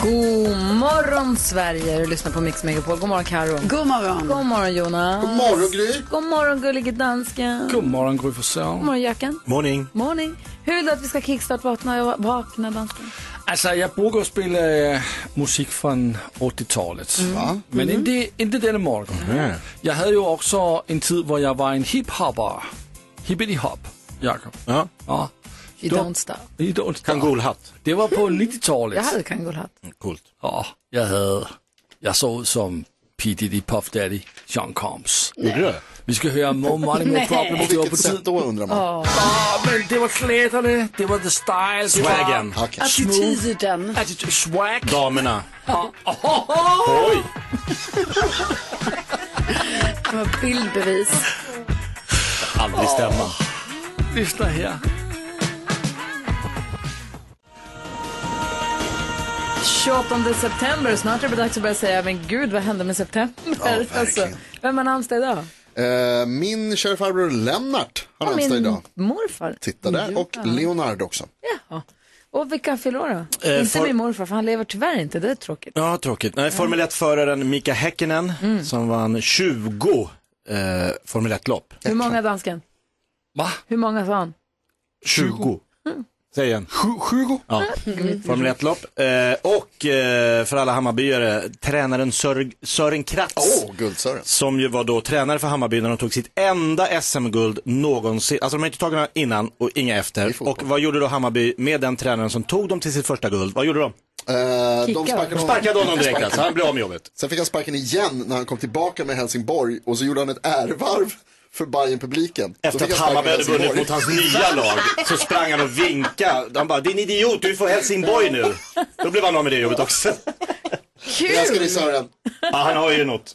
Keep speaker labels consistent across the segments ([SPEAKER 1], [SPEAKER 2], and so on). [SPEAKER 1] God morgon Sverige, du lyssnar på Mix Megapol. God morgon Karo.
[SPEAKER 2] God morgon.
[SPEAKER 1] God morgon Jonas. God
[SPEAKER 3] morgon, Gry.
[SPEAKER 1] God morgon gullige dansken.
[SPEAKER 3] God morgon Gry Forssell.
[SPEAKER 1] God morgon Jöken.
[SPEAKER 3] Morning.
[SPEAKER 1] Morning. Hur vill du att vi ska kickstart-vakna och vakna dansken?
[SPEAKER 3] Alltså jag brukar spela eh, musik från 80-talet.
[SPEAKER 1] Va?
[SPEAKER 3] Men
[SPEAKER 1] Mhm.
[SPEAKER 3] inte, inte denna morgon. Jag hade ju också en tid där jag var en hiphopper. Hippity-hop, Jakob. Ja. ja.
[SPEAKER 1] You
[SPEAKER 3] Då-
[SPEAKER 1] don't stop.
[SPEAKER 3] You don't stop. Kangolhatt. Det var på 90-talet.
[SPEAKER 1] Jag hade kangolhatt.
[SPEAKER 3] Coolt. Ja, jag hade... Jag såg ut som P Diddy Puff Daddy, Sean Combs.
[SPEAKER 4] Gjorde du?
[SPEAKER 3] Vi ska höra More Money More
[SPEAKER 4] Nej.
[SPEAKER 3] Problem.
[SPEAKER 4] På vilket sätt då, undrar man?
[SPEAKER 3] Ja, men det var kläderna, det var the style.
[SPEAKER 4] Swagen. Okej.
[SPEAKER 3] Attityden. Attityd, swag.
[SPEAKER 4] Damerna.
[SPEAKER 3] Ja.
[SPEAKER 4] Oj!
[SPEAKER 1] Det var bildbevis.
[SPEAKER 4] Aldrig stämma.
[SPEAKER 3] Lyssna här.
[SPEAKER 1] 28 september, snart är det dags att börja säga men gud vad hände med september? Alltså,
[SPEAKER 4] verkligen.
[SPEAKER 1] Vem har namnsdag idag?
[SPEAKER 4] Eh, min kära farbror Lennart har
[SPEAKER 1] Och
[SPEAKER 4] namnsdag
[SPEAKER 1] min
[SPEAKER 4] idag.
[SPEAKER 1] morfar.
[SPEAKER 4] Titta där. Och Leonard också.
[SPEAKER 1] Jaha. Och vilka fyller år då?
[SPEAKER 5] Eh,
[SPEAKER 1] inte
[SPEAKER 5] for-
[SPEAKER 1] min morfar, för han lever tyvärr inte. Det är tråkigt.
[SPEAKER 5] Ja, tråkigt. Nej, Formel 1-föraren Mika Häkkinen
[SPEAKER 4] Mm.
[SPEAKER 5] som vann 20 eh, Formel 1-lopp.
[SPEAKER 1] Hur många dansken?
[SPEAKER 3] Va?
[SPEAKER 1] Hur många sa han?
[SPEAKER 5] 20.
[SPEAKER 4] Mm.
[SPEAKER 5] Säg igen.
[SPEAKER 3] 20?
[SPEAKER 5] Ja,
[SPEAKER 1] Mm.
[SPEAKER 5] Formel 1-lopp. Eh, och eh, för alla Hammarbyare, tränaren Sör, Sören Kratz. Som ju var då tränare för Hammarby när de tog sitt enda SM-guld någonsin. Alltså de har inte tagit några innan och inga efter. Och vad gjorde då Hammarby med den tränaren som tog dem till sitt första guld? Vad gjorde de?
[SPEAKER 4] Eh, de sparkade
[SPEAKER 5] De
[SPEAKER 4] honom,
[SPEAKER 5] sparkade honom direkt
[SPEAKER 4] Sparkade.
[SPEAKER 5] alltså, han blev av med jobbet.
[SPEAKER 4] Sen fick han sparken igen när han kom tillbaka med Helsingborg och så gjorde han ett ärevarv för Bayern-publiken. Så
[SPEAKER 5] Efter
[SPEAKER 4] fick
[SPEAKER 5] att
[SPEAKER 4] han
[SPEAKER 5] Hammarby hade
[SPEAKER 4] sparken i
[SPEAKER 5] vunnit mot hans
[SPEAKER 4] Helsingborg.
[SPEAKER 5] nya lag så sprang han och vinkade. Han bara, din idiot, du får Helsingborg nu. Då blev han av med det jobbet också.
[SPEAKER 1] Kul! Jag älskar dig,
[SPEAKER 4] Sören.
[SPEAKER 5] Ja, han har ju något.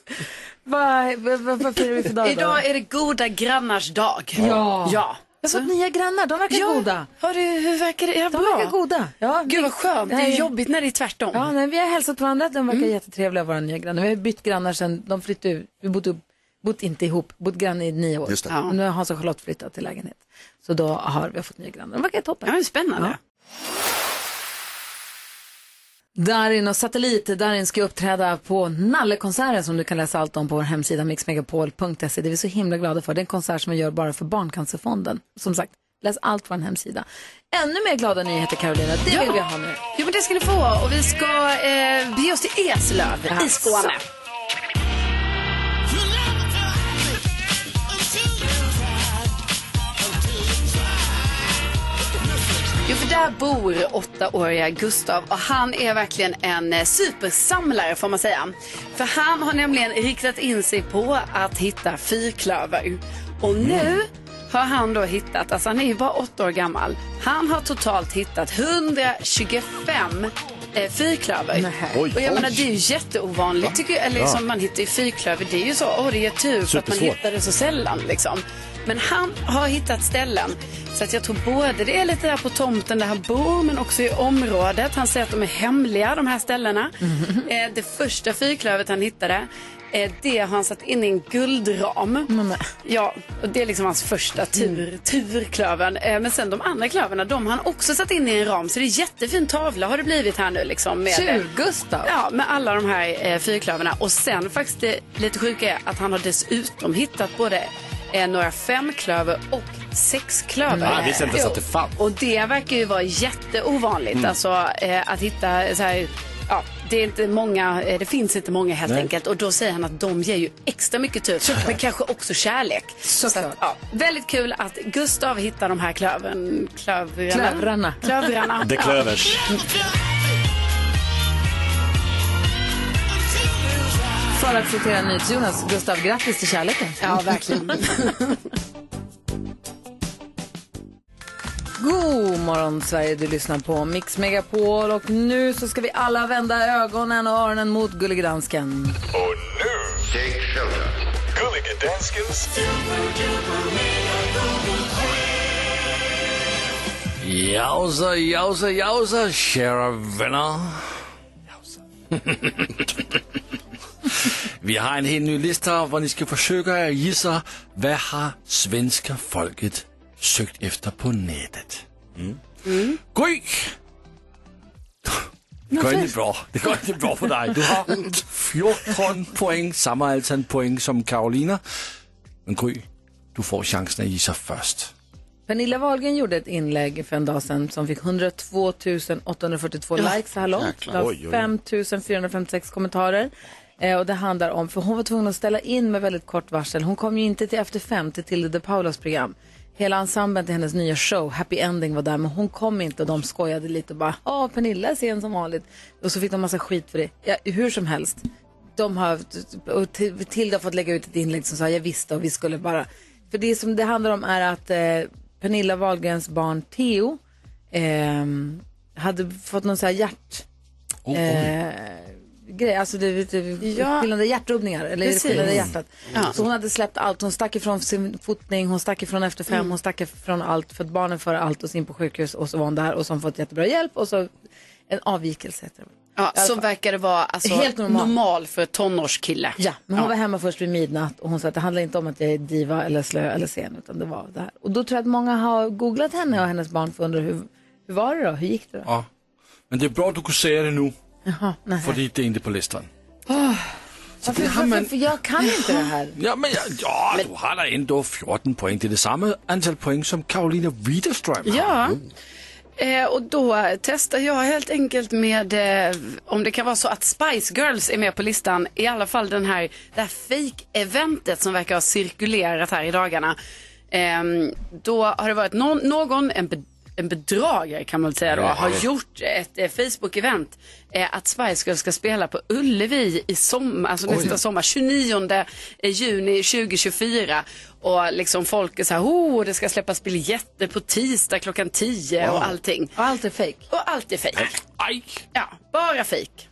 [SPEAKER 1] Vad vad- vad- vad firar vi för dag då?
[SPEAKER 2] Idag är det goda grannars dag.
[SPEAKER 1] Ja.
[SPEAKER 2] ja.
[SPEAKER 1] Jag har fått nya grannar, de verkar
[SPEAKER 2] Ja.
[SPEAKER 1] goda.
[SPEAKER 2] Har du, hur verkar det? Är jag
[SPEAKER 1] De
[SPEAKER 2] bra?
[SPEAKER 1] verkar goda. Ja,
[SPEAKER 2] Gud vad skönt. Det
[SPEAKER 1] Nej.
[SPEAKER 2] är jobbigt när det är tvärtom.
[SPEAKER 1] Ja, nej, vi har hälsat på varandra, de verkar
[SPEAKER 2] Mm.
[SPEAKER 1] jättetrevliga våra nya grannar. Vi har bytt grannar sen de flyttade ut. Vi bott, upp, bott inte ihop, bott granne i nio år.
[SPEAKER 2] Just det. Ja.
[SPEAKER 1] Och nu har Hans och Charlotte flyttat till lägenhet. Så då har vi fått nya grannar. De verkar toppen.
[SPEAKER 2] Ja, det är spännande.
[SPEAKER 1] Darin och Satellit, Darin ska uppträda på Nallekonserten som du kan läsa allt om på vår hemsida mixmegapol.se. Det är vi så himla glada för. Det är en konsert som vi gör bara för Barncancerfonden. Som sagt, läs allt på vår hemsida. Ännu mer glada nyheter Carolina, det vill vi ha nu.
[SPEAKER 2] Jo, men det ska ni få. Och vi ska eh, bege oss till Eslöv i
[SPEAKER 1] Jaså.
[SPEAKER 2] Skåne. Jo, för där bor åttaåriga Gustav och han är verkligen en eh, supersamlare får man säga. För han har nämligen riktat in sig på att hitta fyrklöver. Och
[SPEAKER 6] Mm.
[SPEAKER 2] nu har han då hittat, alltså han är ju bara åtta år gammal, han har totalt hittat 125 eh, fyrklöver.
[SPEAKER 6] Oj,
[SPEAKER 2] och jag
[SPEAKER 6] oj.
[SPEAKER 2] menar det är ju jätteovanligt tycker jag, eller
[SPEAKER 6] Ja.
[SPEAKER 2] som man hittar i fyrklöver, det är ju så, åh det är tur för att man
[SPEAKER 6] Supersvårt.
[SPEAKER 2] hittar det så sällan liksom. Men han har hittat ställen. Så att jag tror både det är lite där på tomten där han bor men också i området. Han säger att de är hemliga de här ställena. Eh, det första fyrklövet han hittade eh, det har han satt in i en guldram. Ja, och det är liksom hans första tur, turklöven. Eh, men sen de andra klöverna, de har han också satt in i en ram. Så det är jättefin tavla har det blivit här nu liksom. Med,
[SPEAKER 1] Tjur-Gustav.
[SPEAKER 2] Ja, med alla de här eh, fyrklöverna. Och sen faktiskt det lite sjuka är att han har dessutom hittat både eh, några femklöver och sexklöver.
[SPEAKER 5] Nej, jag visste inte ens att det
[SPEAKER 2] Jo,
[SPEAKER 5] fanns.
[SPEAKER 2] Och det verkar ju vara jätteovanligt.
[SPEAKER 5] Mm.
[SPEAKER 2] Alltså eh, att hitta så här, ja, det är inte många, eh, det finns inte många helt
[SPEAKER 1] Nej.
[SPEAKER 2] enkelt. Och då säger han att de ger ju extra mycket tur. Men kanske också kärlek. Så att, ja, väldigt kul att Gustav hittar de här klövern, klövrarna.
[SPEAKER 1] Klövrarna.
[SPEAKER 2] Klövrarna.
[SPEAKER 5] The
[SPEAKER 2] ja.
[SPEAKER 5] Klövers.
[SPEAKER 1] För att citera NyhetsJonas, Gustav, grattis till kärleken.
[SPEAKER 2] Ja, verkligen.
[SPEAKER 1] God morgon Sverige, du lyssnar på Mix Megapol och nu så ska vi alla vända ögonen och öronen mot gullige dansken.
[SPEAKER 6] Och nu, Jake Shelton. Gullige Danskens...
[SPEAKER 3] Jausa, jausa, jausa, kära vänner. Vi har en helt ny lista där ni ska försöka gissa vad har svenska folket sökt efter på nätet. Gry! Det går inte bra. Det går inte bra för dig. Du har 14 poäng, samma antal poäng som Carolina. Men Gry, du får chansen att gissa först.
[SPEAKER 1] Pernilla Wahlgren gjorde ett inlägg för en dag sedan som fick 102 842 likes så här långt. Det
[SPEAKER 7] Jäklar.
[SPEAKER 1] var
[SPEAKER 7] Oj, oj, oj.
[SPEAKER 1] 5 456 kommentarer. Eh, och det handlar om, för hon var tvungen att ställa in med väldigt kort varsel. Hon kom ju inte till Efter 50 till De Paulas program. Hela ensemblen till hennes nya show, Happy Ending, var där men hon kom inte och de skojade lite och bara ja, Pernilla är sen som vanligt. Och så fick de massa skit för det. Ja, hur som helst. De har, och Til- Tilda har fått lägga ut ett inlägg som sa jag visste och vi skulle bara. För det som det handlar om är att eh, Pernilla Wahlgrens barn Theo ehm, hade fått någon sån här hjärt...
[SPEAKER 7] Oj, oj.
[SPEAKER 1] eh, grej, alltså det, det,
[SPEAKER 2] Ja.
[SPEAKER 1] skillande hjärtrubbningar eller
[SPEAKER 2] Precis.
[SPEAKER 1] skillande
[SPEAKER 7] Mm.
[SPEAKER 1] hjärtat.
[SPEAKER 2] Ja.
[SPEAKER 1] Så hon hade släppt allt. Hon stack ifrån sin fotning, hon stack ifrån efter fem,
[SPEAKER 2] Mm.
[SPEAKER 1] hon stack ifrån allt för att barnen för allt och sin på sjukhus och så var hon där och så har hon fått jättebra hjälp och så en avvikelse heter det.
[SPEAKER 2] Ja,
[SPEAKER 1] I alla
[SPEAKER 2] så
[SPEAKER 1] fall.
[SPEAKER 2] verkar det vara alltså,
[SPEAKER 1] Helt
[SPEAKER 2] Helt
[SPEAKER 1] normal.
[SPEAKER 2] normal. för ett tonårskille.
[SPEAKER 1] Ja, men hon var hemma först vid midnatt och hon sa att det handlar inte om att jag är diva eller slö eller sen utan det var det här. Och då tror jag att många har googlat henne och hennes barn för att undra hur, hur var det då? Hur gick det då?
[SPEAKER 3] Ja. Men det är bra att du kan säga det nu,
[SPEAKER 1] Jaha, nej.
[SPEAKER 3] för det är inte på listan.
[SPEAKER 1] Åh, varför, varför, för jag kan inte det här.
[SPEAKER 3] Ja, men ja, ja, du har da ändå 14 poäng. Det är det samma antal poäng som Karolina Widerström har.
[SPEAKER 2] Ja. Eh, och då testar jag helt enkelt med eh, om det kan vara så att Spice Girls är med på listan. I alla fall den här, det här fake-eventet som verkar ha cirkulerat här i dagarna. Ehm, då har det varit någon, någon en, be, en bedragare kan man väl säga då,
[SPEAKER 7] Ja.
[SPEAKER 2] har gjort ett eh, Facebook-event eh, att Spice Girls ska spela på Ullevi i sommar, alltså
[SPEAKER 7] Oj.
[SPEAKER 2] nästa sommar, 29 juni 2024. Och liksom folk är så här, oh, det ska släppas biljetter på tisdag klockan 10
[SPEAKER 1] Wow.
[SPEAKER 2] och allting.
[SPEAKER 1] Och allt är fejk?
[SPEAKER 2] Och allt är fejk. Ja, bara fejk.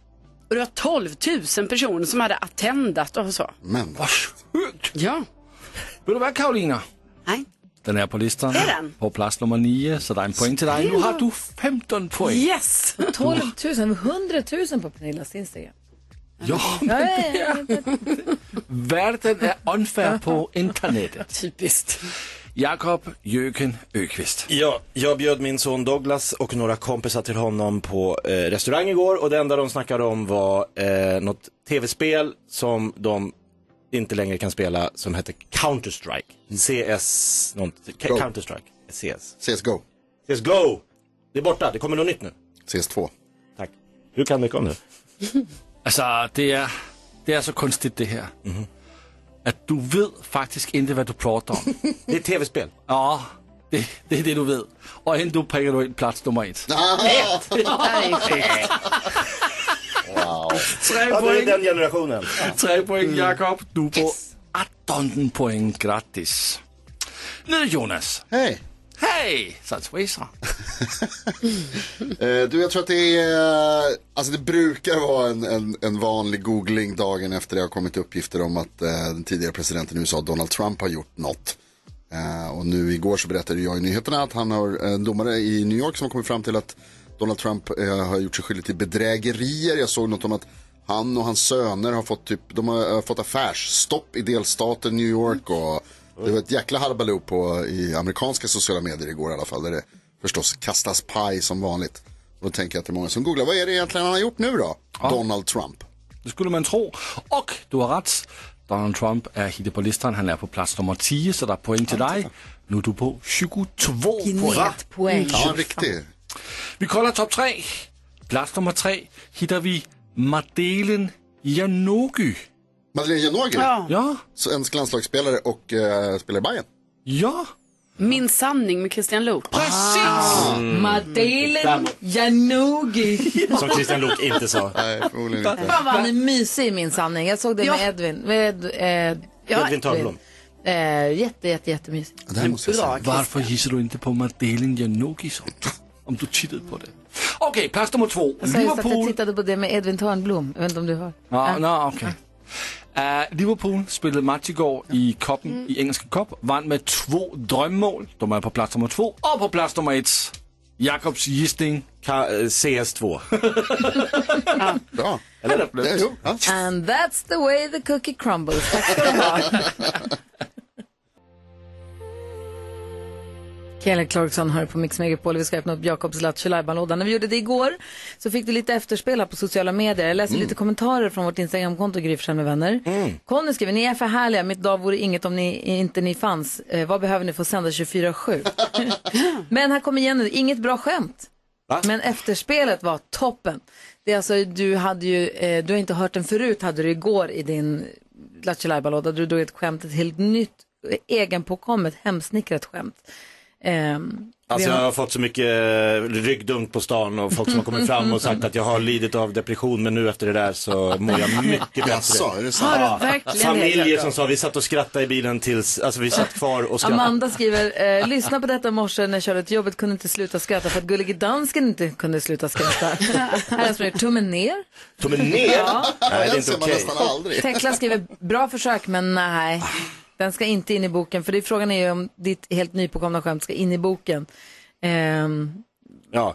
[SPEAKER 2] Och det var 12 000 personer som hade attendat och så.
[SPEAKER 4] Men
[SPEAKER 3] vad sjukt!
[SPEAKER 2] Ja.
[SPEAKER 3] Vill du vara Karolina?
[SPEAKER 2] Nej.
[SPEAKER 3] Den är på listan.
[SPEAKER 2] Är den?
[SPEAKER 3] På plats nummer 9, så det är en poäng till dig. Nu har du 15 poäng.
[SPEAKER 2] Yes!
[SPEAKER 1] 12 000, 100 000 på Pernillas Instagram.
[SPEAKER 3] Ja,
[SPEAKER 1] Ja, ja, ja.
[SPEAKER 3] världen är unfair på internetet.
[SPEAKER 2] Typiskt.
[SPEAKER 3] Jakob Jöken Ökvist.
[SPEAKER 5] Ja, jag bjöd min son Douglas och några kompisar till honom på eh, restaurang igår och det enda de snackade om var eh, något tv-spel som de inte längre kan spela som heter Counter-Strike. CS... nånt- Ka-
[SPEAKER 4] Go.
[SPEAKER 5] Counter-Strike. CS.
[SPEAKER 4] CSGO.
[SPEAKER 5] CSGO! Det är borta, det kommer något nytt nu.
[SPEAKER 4] CS2.
[SPEAKER 5] Tack. Du kan mycket om det.
[SPEAKER 3] Alltså, det är, det är så konstigt det här. Att du vet faktiskt inte vad du pratar om.
[SPEAKER 5] det är tv-spel.
[SPEAKER 3] Ja, det, det är det du vet. Och ändå prickar du in plats nummer ett.
[SPEAKER 5] Ah.
[SPEAKER 4] Wow.
[SPEAKER 3] Tre
[SPEAKER 5] Ja, Alltså, det är
[SPEAKER 3] poäng.
[SPEAKER 5] den Mm. generationen.
[SPEAKER 3] Tre poäng, Jakob. Du är på 18 poäng. Grattis. Nu är det Jonas.
[SPEAKER 4] Hej.
[SPEAKER 3] Hej! Satswisa.
[SPEAKER 4] Eh, du, jag tror att det är, alltså det brukar vara en, en, en vanlig googling dagen efter det har kommit uppgifter om att eh, den tidigare presidenten i USA, Donald Trump, har gjort något. Eh, och nu igår så berättade jag i nyheterna att han har en domare i New York som har kommit fram till att Donald Trump eh, har gjort sig skyldig till bedrägerier. Jag såg något om att han och hans söner har fått, typ, de har, eh, fått affärsstopp i delstaten New York. Och det var ett jäkla harbaloo på i amerikanska sociala medier igår i alla fall. Där det förstås kastas paj som vanligt. Och då tänker jag att det är många som googlar, vad är det egentligen han har gjort nu då? Donald Trump.
[SPEAKER 3] Det skulle man tro. Och du har rätt. Donald Trump är hitta på listan. Han är på plats nummer 10, så det är poäng till dig. Nu är du på 22 poäng.
[SPEAKER 1] Gnetpoäng.
[SPEAKER 4] Ja, riktigt.
[SPEAKER 3] Vi kollar topp tre. Plats nummer tre hittar vi Madeleine Janogy.
[SPEAKER 4] Madeleine Janogy,
[SPEAKER 2] Ja.
[SPEAKER 3] Ja.
[SPEAKER 4] svensk landslagsspelare och eh, spelar i Bayern.
[SPEAKER 3] Ja.
[SPEAKER 2] Min sanning med Christian Luuk.
[SPEAKER 4] Ah,
[SPEAKER 3] Precis!
[SPEAKER 1] Madeleine Janogy.
[SPEAKER 5] Som Christian Luuk inte sa.
[SPEAKER 4] Nej, förmodligen inte.
[SPEAKER 1] Fan vad han är mysig i min sanning. Jag såg det med Edvin. Med, eh,
[SPEAKER 5] Edvin Törnblom.
[SPEAKER 1] Eh, jätte, jätte, jättemysigt.
[SPEAKER 4] Det här måste jag
[SPEAKER 2] bra.
[SPEAKER 4] säga.
[SPEAKER 3] Varför gissar du inte på Madeleine Janogisson? Om du tittade på det. Okej, plats nummer två.
[SPEAKER 1] Jag sa just att jag
[SPEAKER 3] Liverpool.
[SPEAKER 1] tittade på det med Edvin Törnblom. Jag vet inte om du har.
[SPEAKER 3] Ja, nå, okay. Eh, Liverpool spelade match igår i cupen, i engelska cup. Vann med två drömmål. De är på plats nummer två. Och på plats nummer ett, Jakobs gissning.
[SPEAKER 5] Ka- eh, CS2.
[SPEAKER 4] Bra.
[SPEAKER 3] Eller?
[SPEAKER 4] Ja, jo, ja.
[SPEAKER 1] And that's the way the cookie crumbles. Tack ska du ha. Kelly Clarkson hör på Mix Megapol. Vi ska öppna upp Jakobs Lattjo När vi gjorde det igår så fick du lite efterspel här på sociala medier. Jag läste lite kommentarer från vårt Instagramkonto Gry Forssell med vänner. Conny skriver, ni är för härliga. Mitt dag vore inget om ni inte ni fanns. Eh, vad behöver ni för att sända 24-7? Men här kommer igen nu. Inget bra skämt. Men efterspelet var toppen. Det är alltså, du, hade ju, eh, du har inte hört den förut, hade du igår i din Lattjo låda Du drog ett skämt, ett helt nytt, eh, egenpåkommet, hemsnickrat skämt. Ehm,
[SPEAKER 5] Alltså
[SPEAKER 1] Vi
[SPEAKER 5] jag
[SPEAKER 1] har-
[SPEAKER 5] har fått så mycket eh, ryggdunk på stan och folk som har kommit fram och sagt att jag har lidit av depression men nu efter det där så mår jag mycket bättre.
[SPEAKER 4] Jaså, är det sant?
[SPEAKER 2] Har
[SPEAKER 5] Ja,
[SPEAKER 2] du verkligen
[SPEAKER 5] Familjer
[SPEAKER 2] det?
[SPEAKER 5] som sa vi satt och skrattade i bilen tills, alltså vi satt kvar och skrattade.
[SPEAKER 1] Amanda skriver, eh, lyssna på detta i morse när jag körde till jobbet kunde inte sluta skratta för att gullige dansken inte kunde sluta skratta. Här är en som gör tummen ner.
[SPEAKER 5] Tummen ner! Nej, det är
[SPEAKER 4] Den
[SPEAKER 5] inte
[SPEAKER 4] ser man
[SPEAKER 5] okej.
[SPEAKER 4] nästan aldrig.
[SPEAKER 1] Tekla skriver, bra försök men nej, den ska inte in i boken. För det är frågan är ju om ditt helt nypåkomna skämt ska in i boken. Ehm,
[SPEAKER 5] Ja.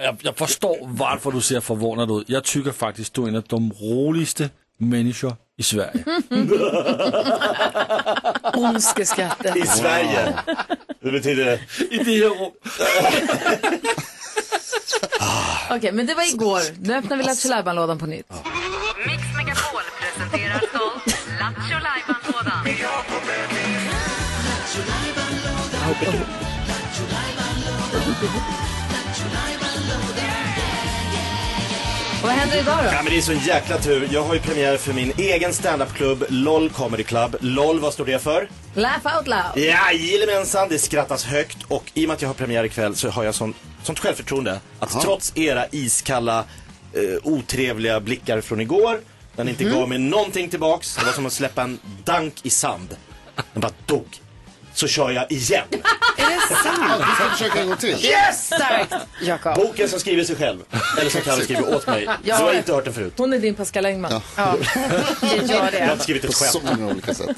[SPEAKER 3] Jeg, jeg forstår, hvorfor du ser forvånet ud. Jeg tykker faktisk, du er en af de roligste mennesker i Sverige.
[SPEAKER 2] Ondskeskrattet.
[SPEAKER 5] I Sverige. Det betyder,
[SPEAKER 3] I det her rum.
[SPEAKER 1] Okej, men det var igår. Nu öppnar vi Lattjo lådan på nytt.
[SPEAKER 7] Mix Megapol presenterar stolt Lattjo Lajban-lådan.
[SPEAKER 1] Och vad händer idag då?
[SPEAKER 5] ja men det är så en jäkla tur. Jag har ju premiär för min egen standupklubb LOL Comedy Club. LOL, vad står det för?
[SPEAKER 1] Laugh out loud.
[SPEAKER 5] Jajamensan, det skrattas högt och i och med att jag har premiär ikväll så har jag sån, sånt självförtroende att trots era iskalla, eh, otrevliga blickar från igår, när ni inte gav mig någonting tillbaks, det var som att släppa en dank i sand. Den bara dog. Så kör jag igen.
[SPEAKER 2] Är det sant?
[SPEAKER 4] Vi ska försöka en gång till.
[SPEAKER 5] Yes!
[SPEAKER 2] Starkt, Jakob.
[SPEAKER 5] Boken som skriver sig själv, eller som Kalle skriver åt mig. Du har inte hört den förut.
[SPEAKER 1] Hon är din Pascal Engman.
[SPEAKER 2] Det gör
[SPEAKER 5] Jag har
[SPEAKER 2] det.
[SPEAKER 5] inte skrivit
[SPEAKER 4] På
[SPEAKER 5] ett
[SPEAKER 4] så
[SPEAKER 5] skämt.
[SPEAKER 4] många olika sätt.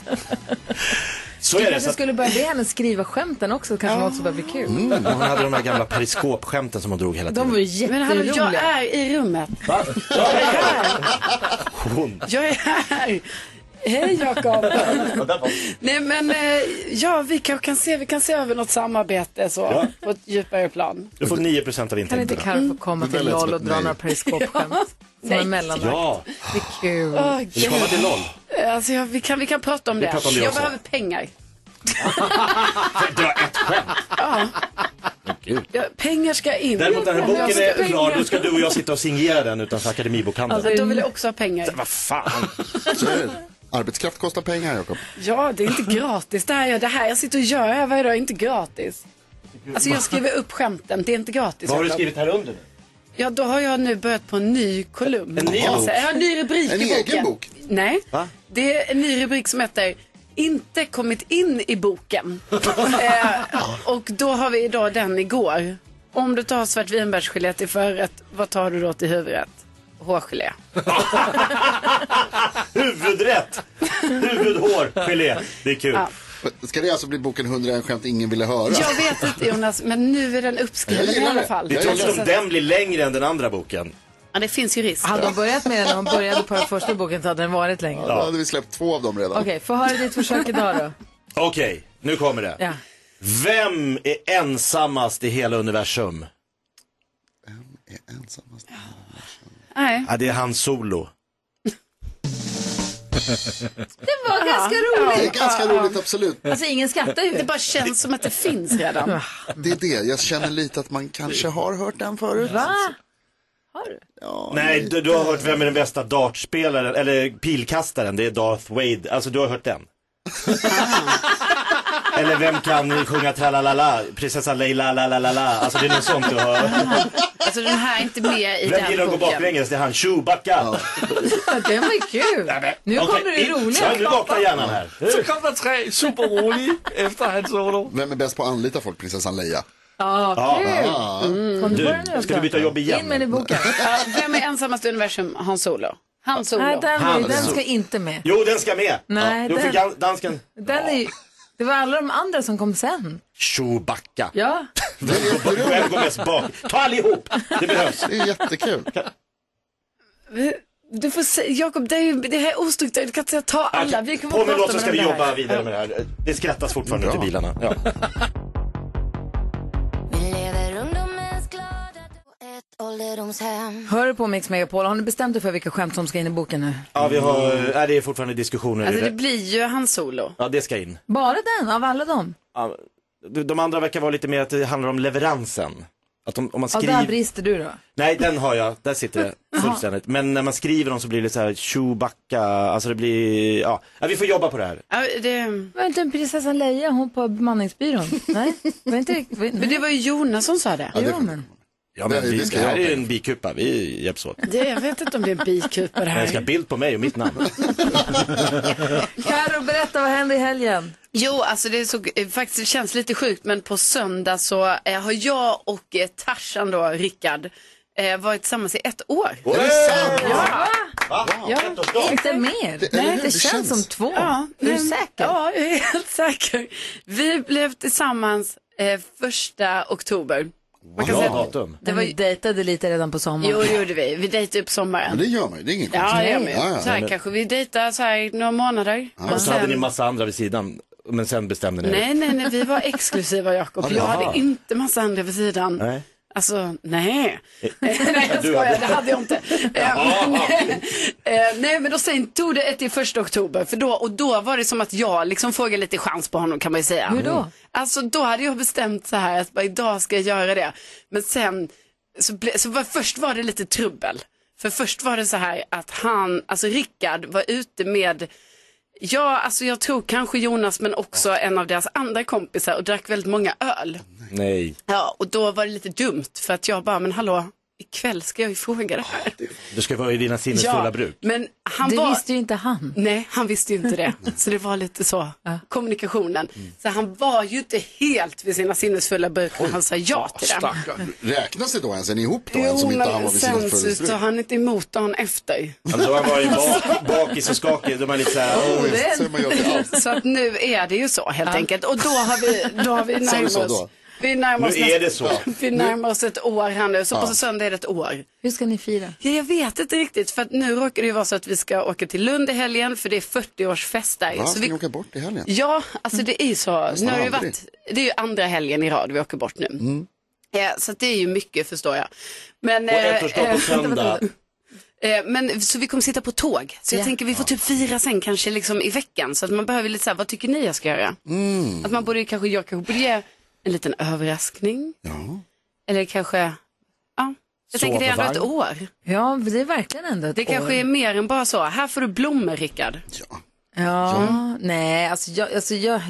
[SPEAKER 5] Så är det.
[SPEAKER 1] Kanske
[SPEAKER 5] Så att,
[SPEAKER 1] skulle börja be henne skriva skämten också, kanske något som börjar bli kul.
[SPEAKER 5] hon hade de här gamla periskopskämten som hon drog hela
[SPEAKER 1] De var
[SPEAKER 5] tiden.
[SPEAKER 1] ju
[SPEAKER 2] Men hallå, jag
[SPEAKER 1] jätteroliga.
[SPEAKER 2] är i rummet.
[SPEAKER 5] Hon.
[SPEAKER 2] Jag är här. Hej Jakob. Nej men eh, ja, vi kan, kan, se, vi kan se över något samarbete så, på ett djupare plan.
[SPEAKER 5] Du får 9% av
[SPEAKER 1] Kan inte
[SPEAKER 5] intäkterna.
[SPEAKER 1] Carro få komma till
[SPEAKER 4] lät som
[SPEAKER 1] LOL och
[SPEAKER 4] ett
[SPEAKER 1] dra
[SPEAKER 4] nej.
[SPEAKER 1] några periskopskämt? Som en mellanlag.
[SPEAKER 5] Ja,
[SPEAKER 1] Det är kul.
[SPEAKER 2] Åh,
[SPEAKER 5] vill du komma till LOL?
[SPEAKER 2] Alltså, jag, vi, kan, vi kan prata om det.
[SPEAKER 5] pratar om det
[SPEAKER 2] jag
[SPEAKER 5] också.
[SPEAKER 2] behöver pengar.
[SPEAKER 5] Det var ett skämt.
[SPEAKER 2] Ja, pengar ska in.
[SPEAKER 5] Däremot när den här
[SPEAKER 2] Om jag
[SPEAKER 5] boken
[SPEAKER 2] ska
[SPEAKER 5] är
[SPEAKER 2] pengar.
[SPEAKER 5] klar, då ska du och jag sitta och signera den utanför Akademibokhandeln.
[SPEAKER 2] Alltså, då vill jag också ha pengar.
[SPEAKER 5] Vad fan!
[SPEAKER 4] Så är det. Arbetskraft kostar pengar, Jakob.
[SPEAKER 2] Ja, det är inte gratis. Det här, jag- det här jag sitter och gör här varje dag är inte gratis. Alltså jag skriver upp skämten, det är inte gratis.
[SPEAKER 5] Vad har du
[SPEAKER 2] Jakob.
[SPEAKER 5] skrivit här under nu?
[SPEAKER 2] Ja, då har jag nu börjat på en ny kolumn.
[SPEAKER 5] En ny
[SPEAKER 2] Jag har
[SPEAKER 5] bok?
[SPEAKER 2] så- Jag har en ny rubrik
[SPEAKER 4] En
[SPEAKER 2] i boken.
[SPEAKER 4] egen bok?
[SPEAKER 2] Nej,
[SPEAKER 5] Va?
[SPEAKER 2] det är en ny rubrik som heter Inte kommit in i boken. eh, och då har vi idag den igår. Om du tar svart vinbärsgelé till förrätt, vad tar du då till huvudrätt? Hårgelé.
[SPEAKER 5] Huvudrätt! Huvudhår, gelé. Det är kul.
[SPEAKER 4] Ska det alltså bli boken 101 skämt ingen ville höra?
[SPEAKER 2] Jag vet inte Jonas, men nu är den uppskriven
[SPEAKER 4] Jag
[SPEAKER 2] i
[SPEAKER 4] gillar
[SPEAKER 2] alla
[SPEAKER 4] det.
[SPEAKER 2] fall.
[SPEAKER 5] Det är
[SPEAKER 4] Jag
[SPEAKER 5] trots som den blir längre än den andra boken.
[SPEAKER 2] Ja, det finns ju risk.
[SPEAKER 1] Hade hon börjat med den när hon började på den första boken så hade den varit längre.
[SPEAKER 4] Då hade vi släppt två av dem redan.
[SPEAKER 1] Okej, få höra ditt försök idag då.
[SPEAKER 5] Okej, nu kommer det.
[SPEAKER 1] Ja.
[SPEAKER 5] Vem är ensammast i hela universum?
[SPEAKER 4] Är ensammast.
[SPEAKER 2] Nej.
[SPEAKER 5] Ja, det är han Solo.
[SPEAKER 1] Det var ganska roligt.
[SPEAKER 4] Det är ganska roligt, absolut.
[SPEAKER 1] Alltså ingen skrattar
[SPEAKER 2] Det
[SPEAKER 1] ju.
[SPEAKER 2] bara känns som att det finns redan.
[SPEAKER 4] Det är det. Jag känner lite att man kanske har hört den förut.
[SPEAKER 1] Va?
[SPEAKER 5] Nej, du, du har hört vem är den bästa dartspelaren, eller pilkastaren, det är Darth Wade. Alltså du har hört den. Eller vem kan sjunga tralalala? Prinsessa Leila la la la la. Alltså det är något sånt du hör.
[SPEAKER 2] Alltså den här är inte med i
[SPEAKER 5] Vem gillar
[SPEAKER 2] den
[SPEAKER 5] att gå
[SPEAKER 2] boken.
[SPEAKER 5] baklänges? Det är han Chewbacca.
[SPEAKER 1] Det var ju kul. Nu
[SPEAKER 5] Okej,
[SPEAKER 1] kommer det
[SPEAKER 5] in.
[SPEAKER 1] roliga.
[SPEAKER 5] Så nu vaknar hjärnan här.
[SPEAKER 3] Så kom der tre super rolige efter hans solo.
[SPEAKER 4] Vem är bäst på att anlita folk? Prinsessan Leia.
[SPEAKER 1] Ja, kul.
[SPEAKER 4] Ah,
[SPEAKER 1] Kom du på
[SPEAKER 5] Du,
[SPEAKER 1] den nu
[SPEAKER 5] ska du
[SPEAKER 1] då?
[SPEAKER 5] byta jobb
[SPEAKER 1] In med
[SPEAKER 5] igen?
[SPEAKER 1] den i boken.
[SPEAKER 2] Ja, Vem är ensammast i universum? Han Solo. Han Solo.
[SPEAKER 1] Nej, den, den
[SPEAKER 5] Hans.
[SPEAKER 1] ska inte med.
[SPEAKER 5] Jo, den ska med.
[SPEAKER 1] Nej,
[SPEAKER 5] Jo, för
[SPEAKER 1] den-
[SPEAKER 5] gan- dansken.
[SPEAKER 1] Den är, ju- det var alla de andra som kom sen.
[SPEAKER 5] Chewbacca.
[SPEAKER 1] Ja.
[SPEAKER 5] Vem går mest bak? Ta allihop! Det behövs.
[SPEAKER 4] det är jättekul.
[SPEAKER 2] Du får se, Jakob, det, är ju- det här är ostrukturerat. Du kan inte säga ta alla. Vi kommer
[SPEAKER 5] På med
[SPEAKER 2] prata
[SPEAKER 5] låt så
[SPEAKER 2] med
[SPEAKER 5] ska vi
[SPEAKER 2] den där.
[SPEAKER 5] jobba vidare med det här. Det skrattas fortfarande ute i bilarna. Ja.
[SPEAKER 1] Hör du på Mix Megapol? Har ni bestämt er för vilka skämt som ska in i boken nu?
[SPEAKER 5] Ja, vi har, eh, nej, det är fortfarande diskussioner.
[SPEAKER 2] Alltså det blir ju Han Solo.
[SPEAKER 5] Ja, det ska in.
[SPEAKER 1] Bara den av alla dem?
[SPEAKER 5] Ja, de- De andra verkar vara lite mer att det handlar om leveransen. Att om, om man
[SPEAKER 1] Ja, där
[SPEAKER 5] skriver...
[SPEAKER 1] brister du då.
[SPEAKER 5] Nej, den har jag. Där sitter det fullständigt. Men när man skriver dem så blir det så här Chewbacca, alltså det blir, ja. ja vi får jobba på det här.
[SPEAKER 2] Ja, det...
[SPEAKER 1] Var inte en prinsessan Leia hon på bemanningsbyrån? Nej, var inte riktigt... var-
[SPEAKER 2] Men
[SPEAKER 1] Nej.
[SPEAKER 2] det var ju Jonas som sa det.
[SPEAKER 1] Jo, men.
[SPEAKER 5] Ja, men
[SPEAKER 4] Det-
[SPEAKER 5] vi,
[SPEAKER 4] det
[SPEAKER 5] det
[SPEAKER 4] ska
[SPEAKER 5] här
[SPEAKER 4] jag
[SPEAKER 5] är ju
[SPEAKER 4] ha.
[SPEAKER 5] en bikupa, vi hjälps åt.
[SPEAKER 2] det. Jag vet inte om det är en bikupa det
[SPEAKER 5] Men jag ska ha
[SPEAKER 2] här.
[SPEAKER 5] bild på mig och mitt namn.
[SPEAKER 1] Karo, berätta vad hände i helgen?
[SPEAKER 2] Jo, alltså det, är så, eh, faktiskt, det känns lite sjukt men på söndag så eh, har jag och eh, Tarzan då, Rickard, eh, varit tillsammans i ett år.
[SPEAKER 4] Är det sant?
[SPEAKER 2] Ja.
[SPEAKER 1] Inte mer.
[SPEAKER 4] Det- eller
[SPEAKER 1] Nej,
[SPEAKER 4] hur?
[SPEAKER 1] det
[SPEAKER 4] Det
[SPEAKER 1] känns
[SPEAKER 4] känns.
[SPEAKER 1] som två.
[SPEAKER 2] Ja,
[SPEAKER 1] är du
[SPEAKER 2] men-
[SPEAKER 1] säker?
[SPEAKER 2] Ja, jag är helt säker. Vi blev tillsammans eh, första oktober. Man kan
[SPEAKER 5] Bra
[SPEAKER 2] säga,
[SPEAKER 5] datum.
[SPEAKER 1] Det var ju... dejtade lite redan på sommaren.
[SPEAKER 2] jo, det gjorde vi. Vi dejtade upp sommaren.
[SPEAKER 4] Men det gör man ju, det är ingen
[SPEAKER 2] Ja,
[SPEAKER 4] konstigt.
[SPEAKER 2] det gör man ju.
[SPEAKER 4] Ja, ja.
[SPEAKER 2] Så här kanske vi dejtar så här några månader.
[SPEAKER 5] Och så hade ni massa andra vid sidan, men sen bestämde ni
[SPEAKER 2] Nej, nej, nej, vi var exklusiva Jakob. Jag hade inte massa andra vid sidan.
[SPEAKER 5] Nej.
[SPEAKER 2] Alltså, nej. nej, jag skojar, det hade jag inte. Eh, eh, nej, men då sen tog det ett till första oktober. För då, och då var det som att jag liksom frågade lite chans på honom kan man ju säga.
[SPEAKER 1] Hur då?
[SPEAKER 2] Alltså, då hade jag bestämt så här att bara, idag ska jag göra det. Men sen, så, ble, så var, först var det lite trubbel. För först var det så här att han, alltså Rickard var ute med Ja, alltså jag tror kanske Jonas men också en av deras andra kompisar och drack väldigt många öl.
[SPEAKER 5] Nej.
[SPEAKER 2] Ja, och då var det lite dumt för att jag bara, men hallå, ikväll ska jag ju fråga det här.
[SPEAKER 5] Du ska vara i dina sinnesfulla
[SPEAKER 2] Ja,
[SPEAKER 5] bruk.
[SPEAKER 2] men han
[SPEAKER 1] Det
[SPEAKER 2] var...
[SPEAKER 1] visste ju inte han.
[SPEAKER 2] Nej, han visste ju inte det. Så det var lite så, kommunikationen.
[SPEAKER 4] Mm.
[SPEAKER 2] Så han var ju inte helt vid sina sinnesfulla bruk när han sa ja till det.
[SPEAKER 4] Räknas det då ens? Är ni ihop då? en Ah, som
[SPEAKER 2] Jo,
[SPEAKER 4] inte han var
[SPEAKER 2] men
[SPEAKER 4] vid
[SPEAKER 2] sen så
[SPEAKER 4] sinnesfullhetsbruk?
[SPEAKER 2] tog han inte emot dagen efter.
[SPEAKER 5] Ja, men då har Alltså, han varit bak, bakis och skakig, då är man lite så här,
[SPEAKER 4] Ja,
[SPEAKER 5] "Åh,
[SPEAKER 4] visst, så är man ju alltid allt.
[SPEAKER 2] Så att nu är det ju så helt enkelt. Och då har vi, då har vi
[SPEAKER 4] Sa du
[SPEAKER 2] närmat
[SPEAKER 4] så
[SPEAKER 2] oss.
[SPEAKER 4] då?
[SPEAKER 2] Vi närmar oss
[SPEAKER 5] nu är
[SPEAKER 2] nästa-
[SPEAKER 5] det så.
[SPEAKER 2] Vi närmar oss ett år här nu, så på söndag är det ett år.
[SPEAKER 1] Hur ska ni fira?
[SPEAKER 2] Ja, jag vet inte riktigt, för att nu råkar det ju vara så att vi ska åka till Lund i helgen, för det är 40-årsfest där.
[SPEAKER 4] Va,
[SPEAKER 2] så
[SPEAKER 4] ska
[SPEAKER 2] vi...
[SPEAKER 4] ni åka bort i helgen?
[SPEAKER 2] Ja, alltså det är ju så. Nu har det, ju
[SPEAKER 4] aldrig.
[SPEAKER 2] varit, det är ju andra helgen i rad vi åker bort nu. Eh, så att det är ju mycket förstår jag. Men,
[SPEAKER 5] Mm. Och
[SPEAKER 2] eh,
[SPEAKER 5] ettårsdag på
[SPEAKER 2] eh,
[SPEAKER 5] söndag.
[SPEAKER 2] Eh, Men så vi kommer sitta på tåg. Så jag
[SPEAKER 1] Ja.
[SPEAKER 2] tänker vi får typ fira sen kanske liksom i veckan. Så att man behöver lite så här, vad tycker ni jag ska göra?
[SPEAKER 5] Mm.
[SPEAKER 2] Att man borde kanske, jag kanske borde ge en liten överraskning. Eller kanske, ja. Jag tänker det är ändå ett
[SPEAKER 5] Sovvagn.
[SPEAKER 2] år.
[SPEAKER 1] Ja, det är verkligen ändå ett
[SPEAKER 2] Det kanske
[SPEAKER 1] år.
[SPEAKER 2] är mer än bara så, här får du blommor Rickard.
[SPEAKER 1] Ja, nej, alltså jag, alltså jag,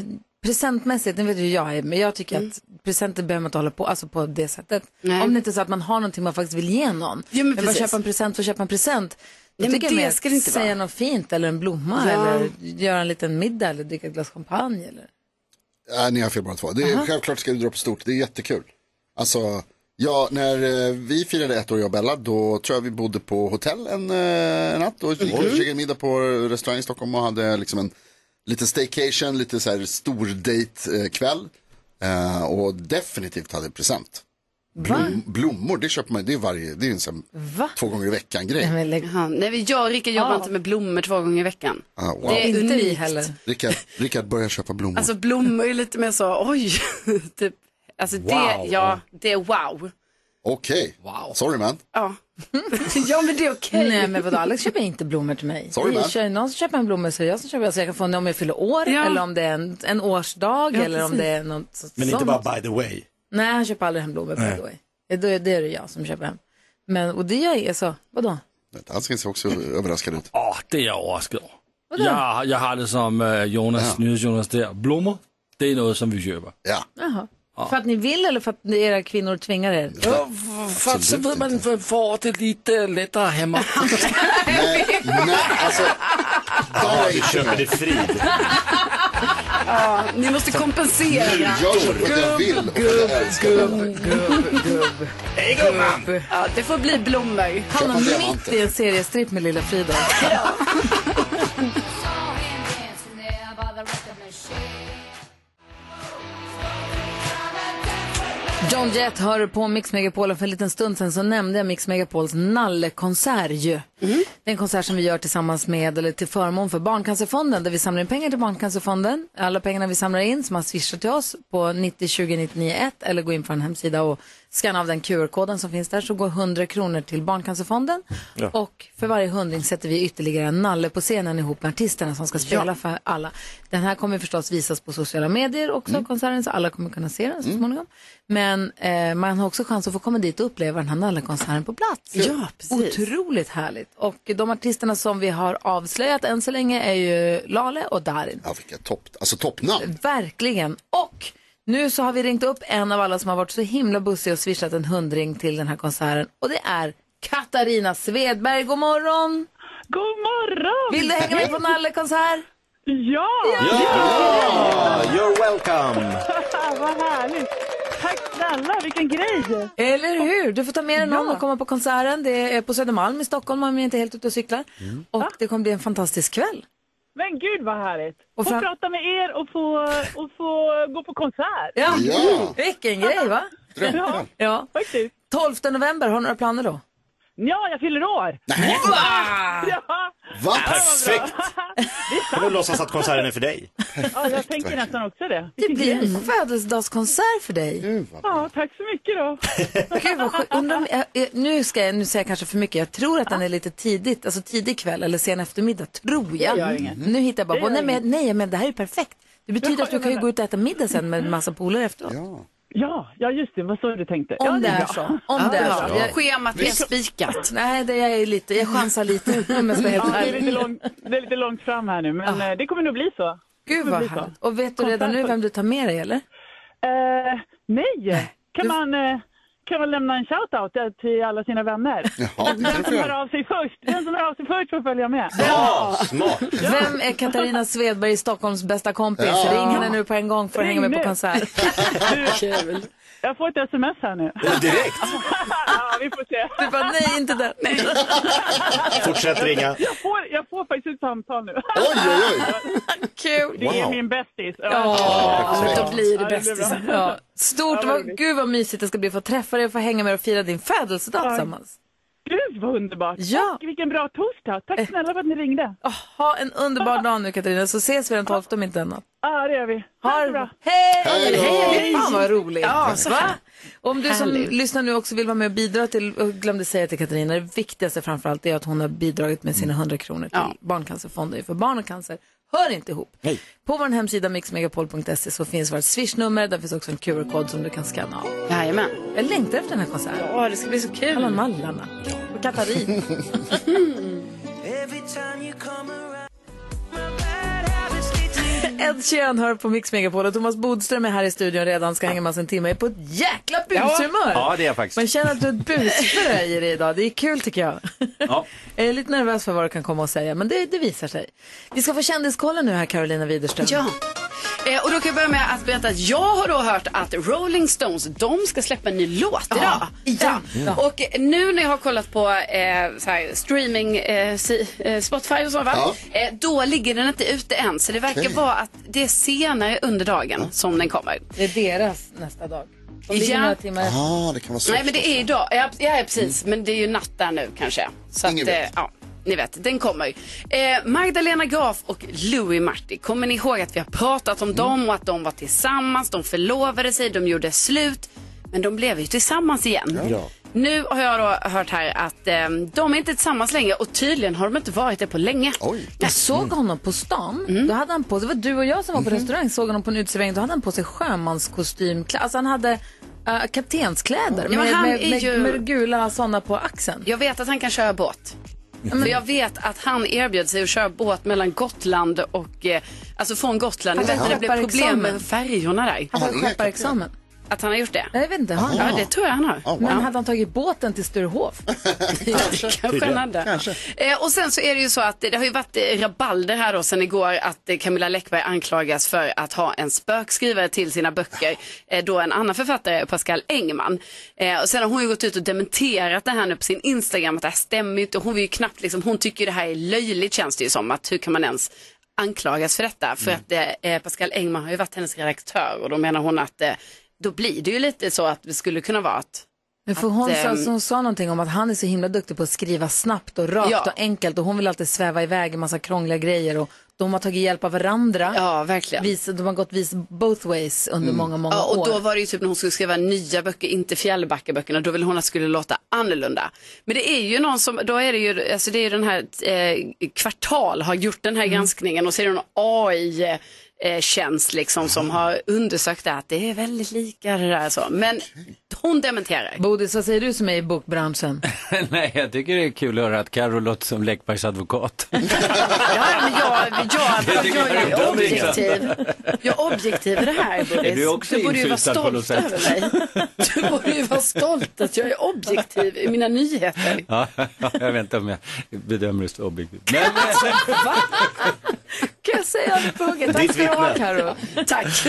[SPEAKER 1] presentmässigt, ni vet ju hur jag är, men jag tycker att presenter behöver man inte hålla på, alltså på det sättet.
[SPEAKER 2] Nej.
[SPEAKER 1] Om det inte är så att man har någonting man faktiskt vill ge någon.
[SPEAKER 2] Ja, men
[SPEAKER 1] bara
[SPEAKER 2] precis.
[SPEAKER 1] köpa en present för att köpa en present. Då
[SPEAKER 2] Nej, men
[SPEAKER 1] tycker jag
[SPEAKER 2] det
[SPEAKER 1] mer
[SPEAKER 2] ska det inte
[SPEAKER 1] säga
[SPEAKER 2] vara.
[SPEAKER 1] något fint eller en blomma
[SPEAKER 2] Ja.
[SPEAKER 1] eller göra en liten middag eller dricka ett glas champagne. Eller.
[SPEAKER 4] Nej, ni har fel båda två. Det är, självklart ska du dra på stort, det är jättekul. Alltså, ja, när eh, vi firade ett år, jag och Bella, då tror jag vi bodde på hotell en eh, natt och gick och käkade middag på restaurang i Stockholm och hade liksom en liten staycation, lite så här stor date eh, kväll. Eh, och definitivt hade present. Blom, blommor, det köper man, det är varje, det är en sån
[SPEAKER 1] Va?
[SPEAKER 4] två gånger i veckan grej.
[SPEAKER 1] Men lägg
[SPEAKER 2] Jaha, nej, men jag och Rickard jobbar
[SPEAKER 1] Ja.
[SPEAKER 2] inte med blommor två gånger i veckan.
[SPEAKER 4] Ah, wow.
[SPEAKER 2] Det är
[SPEAKER 1] Eh, inte vi
[SPEAKER 2] unikt.
[SPEAKER 1] heller.
[SPEAKER 4] Rickard, Rickard börjar köpa blommor.
[SPEAKER 2] Alltså blommor är lite mer så, oj. typ. Alltså det,
[SPEAKER 5] Wow.
[SPEAKER 2] ja, det är wow.
[SPEAKER 4] Okej, sorry man.
[SPEAKER 2] Ja, ja men det är okej.
[SPEAKER 1] Nej men vadå, Alex köper inte blommor till mig.
[SPEAKER 4] Sorry,
[SPEAKER 1] det är
[SPEAKER 4] man.
[SPEAKER 1] kör- någon som köper en blomma så är det jag som köper, så jag kan få en om jag fyller år
[SPEAKER 2] Ja.
[SPEAKER 1] eller om det är en, en årsdag eller om det är något så-
[SPEAKER 5] Men inte
[SPEAKER 1] sånt.
[SPEAKER 5] bara by the way.
[SPEAKER 1] Nej, han köper aldrig hem blommor på Adoy. Det, det är det jag som köper hem. Men, och det gör jag så, vadå?
[SPEAKER 4] Han ser också överraskad ut.
[SPEAKER 8] eh,
[SPEAKER 3] Åh, det er jeg overrasket over. Jeg, jeg har det som øh, Jonas, ja. nyhedsjonas der. Blommer, Det är något som vi köper.
[SPEAKER 4] Ja.
[SPEAKER 1] Jaha.
[SPEAKER 3] Ja.
[SPEAKER 1] För att ni vill eller för att era kvinnor tvingar er?
[SPEAKER 3] För att så vill man få det
[SPEAKER 8] eh,
[SPEAKER 3] lite lättare hemma.
[SPEAKER 4] alltså,
[SPEAKER 5] Ja, vi köper det frid.
[SPEAKER 2] Ja, ni måste kompensera.
[SPEAKER 4] Jag köper vad jag vill och jag älskar det.
[SPEAKER 2] Hej gumman! Ja, det får bli blommor.
[SPEAKER 1] Han
[SPEAKER 4] Köpa
[SPEAKER 1] är mitt
[SPEAKER 4] diamanter.
[SPEAKER 1] i en seriestripp med lilla Frida. John Jett hör på Mix Megapol och för en liten stund sen så nämnde jag Mix Megapols nallekonsert ju. Det är en konsert som vi gör tillsammans med, eller till förmån för Barncancerfonden där vi samlar in pengar till Barncancerfonden. Alla pengarna vi samlar in som man swishar till oss på 90 20 99 1 eller gå in på en hemsida och scanna av den QR-koden som finns där så går 100 kronor till Barncancerfonden.
[SPEAKER 5] Ja.
[SPEAKER 1] Och för varje hundring sätter vi ytterligare en nalle på scenen ihop med artisterna som ska spela för alla. Den här kommer förstås visas på sociala medier också,
[SPEAKER 2] Mm.
[SPEAKER 1] konserten, så alla kommer kunna se den så småningom. Men eh, man har också chans att få komma dit och uppleva den här nallekonserten på plats.
[SPEAKER 2] Ja, precis.
[SPEAKER 1] Otroligt härligt. Och de artisterna som vi har avslöjat än så länge är ju Lale och Darin.
[SPEAKER 4] Ja, vilka topp, alltså toppnamn.
[SPEAKER 1] Verkligen. Och nu så har vi ringt upp en av alla som har varit så himla bussig och swishat en hundring till den här konserten. Och det är Katarina Svedberg. God morgon!
[SPEAKER 9] God morgon!
[SPEAKER 1] Vill du hänga med på Nalle-konsert?
[SPEAKER 9] Ja!
[SPEAKER 5] Ja, you're welcome.
[SPEAKER 9] Vad härligt! Tack snälla, vilken grej!
[SPEAKER 1] Eller hur? Du får ta med dig någon och komma på konserten. Det är på Södermalm i Stockholm om jag inte är helt ute och cyklar. Och det kommer bli en fantastisk kväll.
[SPEAKER 9] Men gud vad härligt!
[SPEAKER 1] Och
[SPEAKER 9] Få
[SPEAKER 1] fram-
[SPEAKER 9] prata med er och få, och få gå på konsert.
[SPEAKER 1] Ja.
[SPEAKER 4] Ja.
[SPEAKER 1] Vilken grej va?
[SPEAKER 4] Drömmen.
[SPEAKER 1] Ja.
[SPEAKER 9] Faktiskt.
[SPEAKER 1] 12 november, har du några planer då?
[SPEAKER 9] Ja, jag fyller år!
[SPEAKER 4] Nej,
[SPEAKER 9] Ja,
[SPEAKER 4] va?
[SPEAKER 5] Perfekt. Kan du låtsas att konserten är för dig?
[SPEAKER 9] ja jag tänker nästan också det.
[SPEAKER 1] Det blir en födelsedagskonsert för dig.
[SPEAKER 9] Ja, tack så mycket då.
[SPEAKER 1] Gud, vad skönt. Undrar om, jag, jag- nu, ska jag, nu säger jag kanske för mycket. Jag tror att den är lite tidigt, alltså tidig kväll eller sen eftermiddag, tror jag.
[SPEAKER 9] Det gör inget.
[SPEAKER 1] Nu hittar jag bara
[SPEAKER 9] Det
[SPEAKER 1] på,
[SPEAKER 9] gör
[SPEAKER 1] nej men, nej men det här är ju perfekt. Det betyder
[SPEAKER 9] Ja,
[SPEAKER 1] att du
[SPEAKER 9] jag
[SPEAKER 1] kan ju
[SPEAKER 9] menar.
[SPEAKER 1] gå ut och äta middag sen med en massa polare efteråt.
[SPEAKER 9] Ja, ja just det, vad så du tänkte. ja,
[SPEAKER 1] Om det är
[SPEAKER 9] bra.
[SPEAKER 1] så. Om det är så. Jag,
[SPEAKER 2] Schemat är spikat.
[SPEAKER 1] nej, det jag är lite, jag chansar lite om jag ska vara
[SPEAKER 9] Ja,
[SPEAKER 1] helt
[SPEAKER 9] det, är lite
[SPEAKER 1] ärlig.
[SPEAKER 9] långt, det är lite långt fram här nu, men
[SPEAKER 1] Ah.
[SPEAKER 9] eh, det kommer nog bli så.
[SPEAKER 1] Gud vad härligt. Och vet du redan nu vem du tar med dig eller?
[SPEAKER 9] Eh, nej, kan
[SPEAKER 1] Du-
[SPEAKER 9] man, eh, kan man lämna en shout-out eh, till alla sina vänner?
[SPEAKER 4] Jaha, det
[SPEAKER 9] Vem
[SPEAKER 4] kanske
[SPEAKER 9] som
[SPEAKER 4] jag
[SPEAKER 9] hör
[SPEAKER 4] gör.
[SPEAKER 9] av sig först, den som hör av sig först får följa med.
[SPEAKER 5] Ja, smart.
[SPEAKER 1] Vem är Katarina Svedberg, Stockholms bästa kompis?
[SPEAKER 4] Ja.
[SPEAKER 1] Ring henne nu på en gång för att
[SPEAKER 9] Ring
[SPEAKER 1] hänga med på
[SPEAKER 9] nu.
[SPEAKER 1] konsert.
[SPEAKER 9] Du, jag får ett sms här nu.
[SPEAKER 5] Direkt.
[SPEAKER 9] ja, vi får se.
[SPEAKER 1] Du bara, nej inte den.
[SPEAKER 5] Fortsätt ringa.
[SPEAKER 9] Jag får, jag får faktiskt ett samtal nu.
[SPEAKER 4] Oj, oj, oj.
[SPEAKER 1] Kul.
[SPEAKER 9] Det är min bästis.
[SPEAKER 1] Ja, men då blir
[SPEAKER 9] Ja,
[SPEAKER 1] det
[SPEAKER 9] det blir
[SPEAKER 1] bästisar.
[SPEAKER 9] bra.
[SPEAKER 1] Ja. Stort,
[SPEAKER 9] Ja, vad
[SPEAKER 1] vad,
[SPEAKER 9] roligt.
[SPEAKER 1] gud vad mysigt det ska bli att få träffa dig och få hänga med och fira din födelsedag tillsammans.
[SPEAKER 9] Gud, vad underbart.
[SPEAKER 1] Ja.
[SPEAKER 9] Tack, vilken bra torsdag. Tack snälla för att ni ringde.
[SPEAKER 1] Åh, ha en underbar dag nu Katarina, så ses vi den 12 om inte annat.
[SPEAKER 9] Ja, det gör vi.
[SPEAKER 1] Ha
[SPEAKER 9] det
[SPEAKER 1] det
[SPEAKER 9] så
[SPEAKER 1] bra.
[SPEAKER 9] bra.
[SPEAKER 1] Hej!
[SPEAKER 4] Hej då.
[SPEAKER 1] Hej! Fan vad roligt.
[SPEAKER 2] Ja, så
[SPEAKER 1] Va? Om du som
[SPEAKER 2] Härligt.
[SPEAKER 1] lyssnar nu också vill vara med och bidra till, och glömde säga till Katarina, det viktigaste framförallt är att hon har bidragit med sina 100 kronor till
[SPEAKER 2] Ja.
[SPEAKER 1] Barncancerfonden, för barn och cancer hör inte ihop. På vår hemsida mixmegapol.se så finns vårt swishnummer, där finns också en QR-kod som du kan scanna av.
[SPEAKER 2] Jajamän.
[SPEAKER 1] Jag längtar efter den här konserten.
[SPEAKER 2] Åh, det ska bli så kul.
[SPEAKER 1] Alla mallarna. Och Katarin. Ed Sheeran hör på Mix Megapol och Thomas Bodström är här i studion redan, ska hänga med oss en timme, är på ett jäkla bushumör.
[SPEAKER 3] Ja, det är jag
[SPEAKER 1] Man
[SPEAKER 3] faktiskt.
[SPEAKER 1] känner att du har ett busfrö i dig idag, det är kul tycker jag.
[SPEAKER 3] Ja.
[SPEAKER 1] Jag är lite nervös för vad du kan komma och säga, men det, det visar sig. Vi ska få kändiskollen nu här, Carolina Widerström.
[SPEAKER 2] Ja. Eh, och då kan jag börja med att berätta att jag har då hört att Rolling Stones, de ska släppa en ny låt idag.
[SPEAKER 1] igen. Ja.
[SPEAKER 2] Och nu när jag har kollat på eh, så här, streaming, eh, si, eh, Spotify och så, va?
[SPEAKER 4] Ja.
[SPEAKER 2] Eh, då ligger den inte ute än. Så det verkar
[SPEAKER 4] Okej.
[SPEAKER 2] vara att det är senare under dagen som den kommer.
[SPEAKER 1] Det är deras nästa dag. De ligger
[SPEAKER 2] Ja.
[SPEAKER 1] några timmar efter.
[SPEAKER 4] Ja, det kan vara så.
[SPEAKER 2] Nej, men det är idag. Ja, ja precis. Men det är ju natt där nu kanske. Så
[SPEAKER 4] Mm. Ingen
[SPEAKER 2] eh,
[SPEAKER 4] vet.
[SPEAKER 2] ja, ni vet, den kommer ju. Eh, Magdalena Graf och Louis Marti. Kommer ni ihåg att vi har pratat om
[SPEAKER 4] Mm.
[SPEAKER 2] dem och att de var tillsammans, de förlovade sig, de gjorde slut. Men de blev ju tillsammans igen. Nu har jag då hört här att eh, de är inte tillsammans längre och tydligen har de inte varit det på länge.
[SPEAKER 4] Oj.
[SPEAKER 1] Jag
[SPEAKER 2] Mm.
[SPEAKER 1] såg honom på stan. Då hade han på, det var du och jag som var på
[SPEAKER 2] Mhm.
[SPEAKER 1] restaurang. Såg honom på en uteservering. Då hade han på sig sjömanskostym. Kla- Alltså han hade äh, kaptenskläder
[SPEAKER 2] men
[SPEAKER 1] med,
[SPEAKER 2] han
[SPEAKER 1] med,
[SPEAKER 2] är
[SPEAKER 1] med,
[SPEAKER 2] ju-
[SPEAKER 1] med gula sådana på axeln.
[SPEAKER 2] Jag vet att han kan köra båt. För jag vet att han erbjöd sig att köra båt mellan Gotland och, eh, alltså från Gotland. Jag
[SPEAKER 1] Han
[SPEAKER 2] vet
[SPEAKER 1] har
[SPEAKER 2] att det blev problem
[SPEAKER 1] skepparexamen.
[SPEAKER 2] med färjorna där.
[SPEAKER 1] Han har skepparexamen.
[SPEAKER 2] Att han har gjort det?
[SPEAKER 1] Jag vet inte. Har
[SPEAKER 2] Ja, det tror jag han har.
[SPEAKER 1] Men
[SPEAKER 2] Ja.
[SPEAKER 1] hade han tagit båten till Sturehof?
[SPEAKER 2] Kanske han hade. Eh, och sen så är det ju så att det, det har ju varit eh, rabalder här då sen igår att eh, Camilla Läckberg anklagas för att ha en spökskrivare till sina böcker. Eh, då en annan författare, Pascal Engman. Eh, och sen har hon ju gått ut och dementerat det här nu på sin Instagram att det här stämmer ju inte. Hon vill ju knappt liksom, hon tycker ju det här är löjligt känns det ju som. Att hur kan man ens anklagas för detta? För att eh, Pascal Engman har ju varit hennes redaktör och då menar hon att eh, då blir det ju lite så att det skulle kunna vara att
[SPEAKER 1] Men för hon,
[SPEAKER 2] Att,
[SPEAKER 1] sa,
[SPEAKER 2] ehm,
[SPEAKER 1] så hon sa någonting om att han är så himla duktig på att skriva snabbt och rakt
[SPEAKER 2] Ja.
[SPEAKER 1] och enkelt och hon vill alltid sväva iväg i massa krångliga grejer och de har tagit hjälp av varandra.
[SPEAKER 2] Ja, verkligen. Mm.
[SPEAKER 1] Vis, de har gått vis both ways under många, många
[SPEAKER 2] ja, och
[SPEAKER 1] år.
[SPEAKER 2] då var det ju typ när hon skulle skriva nya böcker, inte Fjällbackaböckerna, då ville hon att det skulle låta annorlunda. Men det är ju någon som, då är det ju, alltså det är ju den här, eh, Kvartal har gjort den här
[SPEAKER 8] Mm.
[SPEAKER 2] granskningen och så är det någon AI-tjänst liksom som har undersökt det här, att det är väldigt lika det där så. Men hon dementerar.
[SPEAKER 1] Bodis, vad säger du som är i bokbranschen?
[SPEAKER 8] Nej, jag tycker det är kul att höra att Carro låter som Läckbergs advokat.
[SPEAKER 2] Ja, men jag, jag, jag, jag är objektiv. Jag är objektiv i det här, Bodis.
[SPEAKER 8] Är du också
[SPEAKER 2] borde ju vara
[SPEAKER 8] infusad på
[SPEAKER 2] stolt
[SPEAKER 8] något sätt?
[SPEAKER 2] över mig. Du borde ju vara stolt att jag är objektiv i mina nyheter.
[SPEAKER 8] ja, jag vet inte om jag bedömer det så objektivt. Men
[SPEAKER 1] kan jag säga det på hugget? Tack
[SPEAKER 8] Ditt
[SPEAKER 1] ska du ha,
[SPEAKER 8] vittne.
[SPEAKER 1] Karo.
[SPEAKER 2] Tack.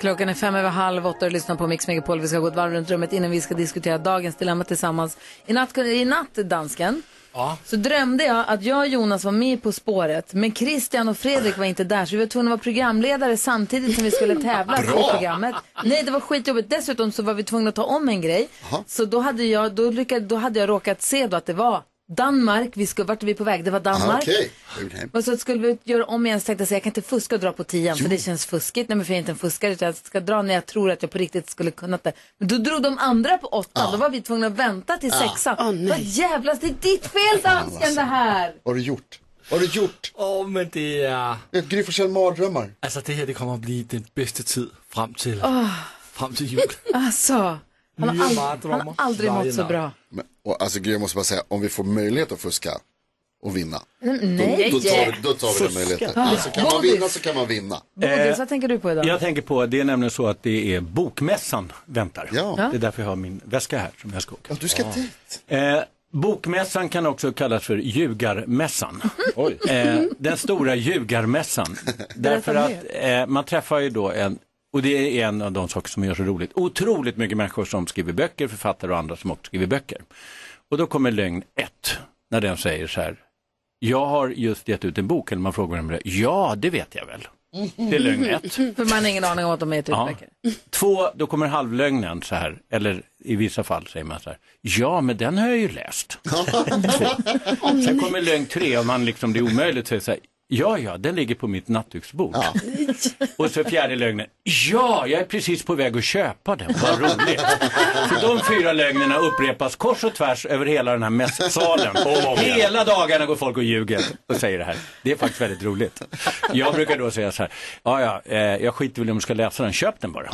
[SPEAKER 1] Klockan är fem över halv åtta och du lyssnar på Mix Megapol. Vi ska gå ett varv runt rummet innan vi ska diskutera dagens dilemma tillsammans. I natt, i natt dansken,
[SPEAKER 3] Ja.
[SPEAKER 1] så drömde jag att jag och Jonas var med På spåret, men Christian och Fredrik var inte där så vi var tvungna att vara programledare samtidigt som vi skulle tävla
[SPEAKER 10] Bra.
[SPEAKER 1] i programmet. Nej, det var skitjobbigt. Dessutom så var vi tvungna att ta om en grej. Så då hade jag, då lyckades, då hade jag råkat se då att det var Danmark, vi skulle, vart är vi på väg? Det var
[SPEAKER 4] Aha,
[SPEAKER 1] Danmark.
[SPEAKER 4] Okej. Okay.
[SPEAKER 1] Och så skulle vi göra om igen så tänkte jag så här, jag kan inte fuska och dra på tian för det känns fuskigt. Nej men för jag är inte en fuskare utan jag ska dra när jag tror att jag på riktigt skulle kunna det. Men då drog de andra på åttan, då var vi tvungna att vänta till
[SPEAKER 4] Ja.
[SPEAKER 1] sexan. Vad jävlas, det är ditt fel dansken det här!
[SPEAKER 4] Vad har du gjort? Vad har du gjort?
[SPEAKER 3] Åh, oh, men det är...
[SPEAKER 4] Ett Gry Forssell mardrömmar.
[SPEAKER 3] Altså, det her, det kommer at blive den bedste tid frem til,
[SPEAKER 1] Åh.
[SPEAKER 3] frem til jul.
[SPEAKER 1] Alltså, han har,
[SPEAKER 3] Nya
[SPEAKER 1] ald-
[SPEAKER 3] mardrömmar.
[SPEAKER 1] han har aldrig mått så
[SPEAKER 4] Varje
[SPEAKER 1] bra.
[SPEAKER 4] Men, och, alltså Gry, jag måste bara säga, om vi får möjlighet att fuska och vinna.
[SPEAKER 1] Mm,
[SPEAKER 4] Då,
[SPEAKER 1] Nej!
[SPEAKER 4] då, tar, då tar vi den
[SPEAKER 8] Fuska.
[SPEAKER 4] möjligheten.
[SPEAKER 8] Ja.
[SPEAKER 4] Alltså, kan man
[SPEAKER 8] Bodis.
[SPEAKER 4] vinna så kan man vinna.
[SPEAKER 1] Bodis, vad tänker du på idag?
[SPEAKER 8] jag tänker på, det är nämligen så att det är bokmässan väntar.
[SPEAKER 1] Ja.
[SPEAKER 8] Det är därför jag har min väska här som jag ska åka.
[SPEAKER 4] Du ska dit.
[SPEAKER 8] Eh, bokmässan kan också kallas för ljugarmässan. Eh, den stora ljugarmässan. Därför
[SPEAKER 11] mer.
[SPEAKER 8] att eh, man träffar ju då en, och det är en av de saker som gör så roligt, otroligt mycket människor som skriver böcker, författare och andra som också skriver böcker. Och då kommer lögn ett, när den säger så här, jag har just gett ut en bok, eller man frågar vem det är. ja det vet jag väl. Det är lögn ett.
[SPEAKER 1] För man har ingen aning om att de är ett
[SPEAKER 8] Ja.
[SPEAKER 1] utmärke.
[SPEAKER 8] Två, då kommer halvlögnen så här, eller i vissa fall säger man så här, ja men den har jag ju läst. Två. Sen kommer lögn tre, om man liksom, det är omöjligt, säger så här, ja ja, den ligger på mitt nattduksbord. Och så fjärde lögnen, ja, jag är precis på väg att köpa den, vad roligt. Så de fyra lögnerna upprepas kors och tvärs över hela den här mässalen.
[SPEAKER 11] Om och om igen.
[SPEAKER 8] Hela dagarna går folk och ljuger och säger det här. Det är faktiskt väldigt roligt. Jag brukar då säga så här, ja ja, eh, jag skiter väl i om du ska läsa den, köp den bara.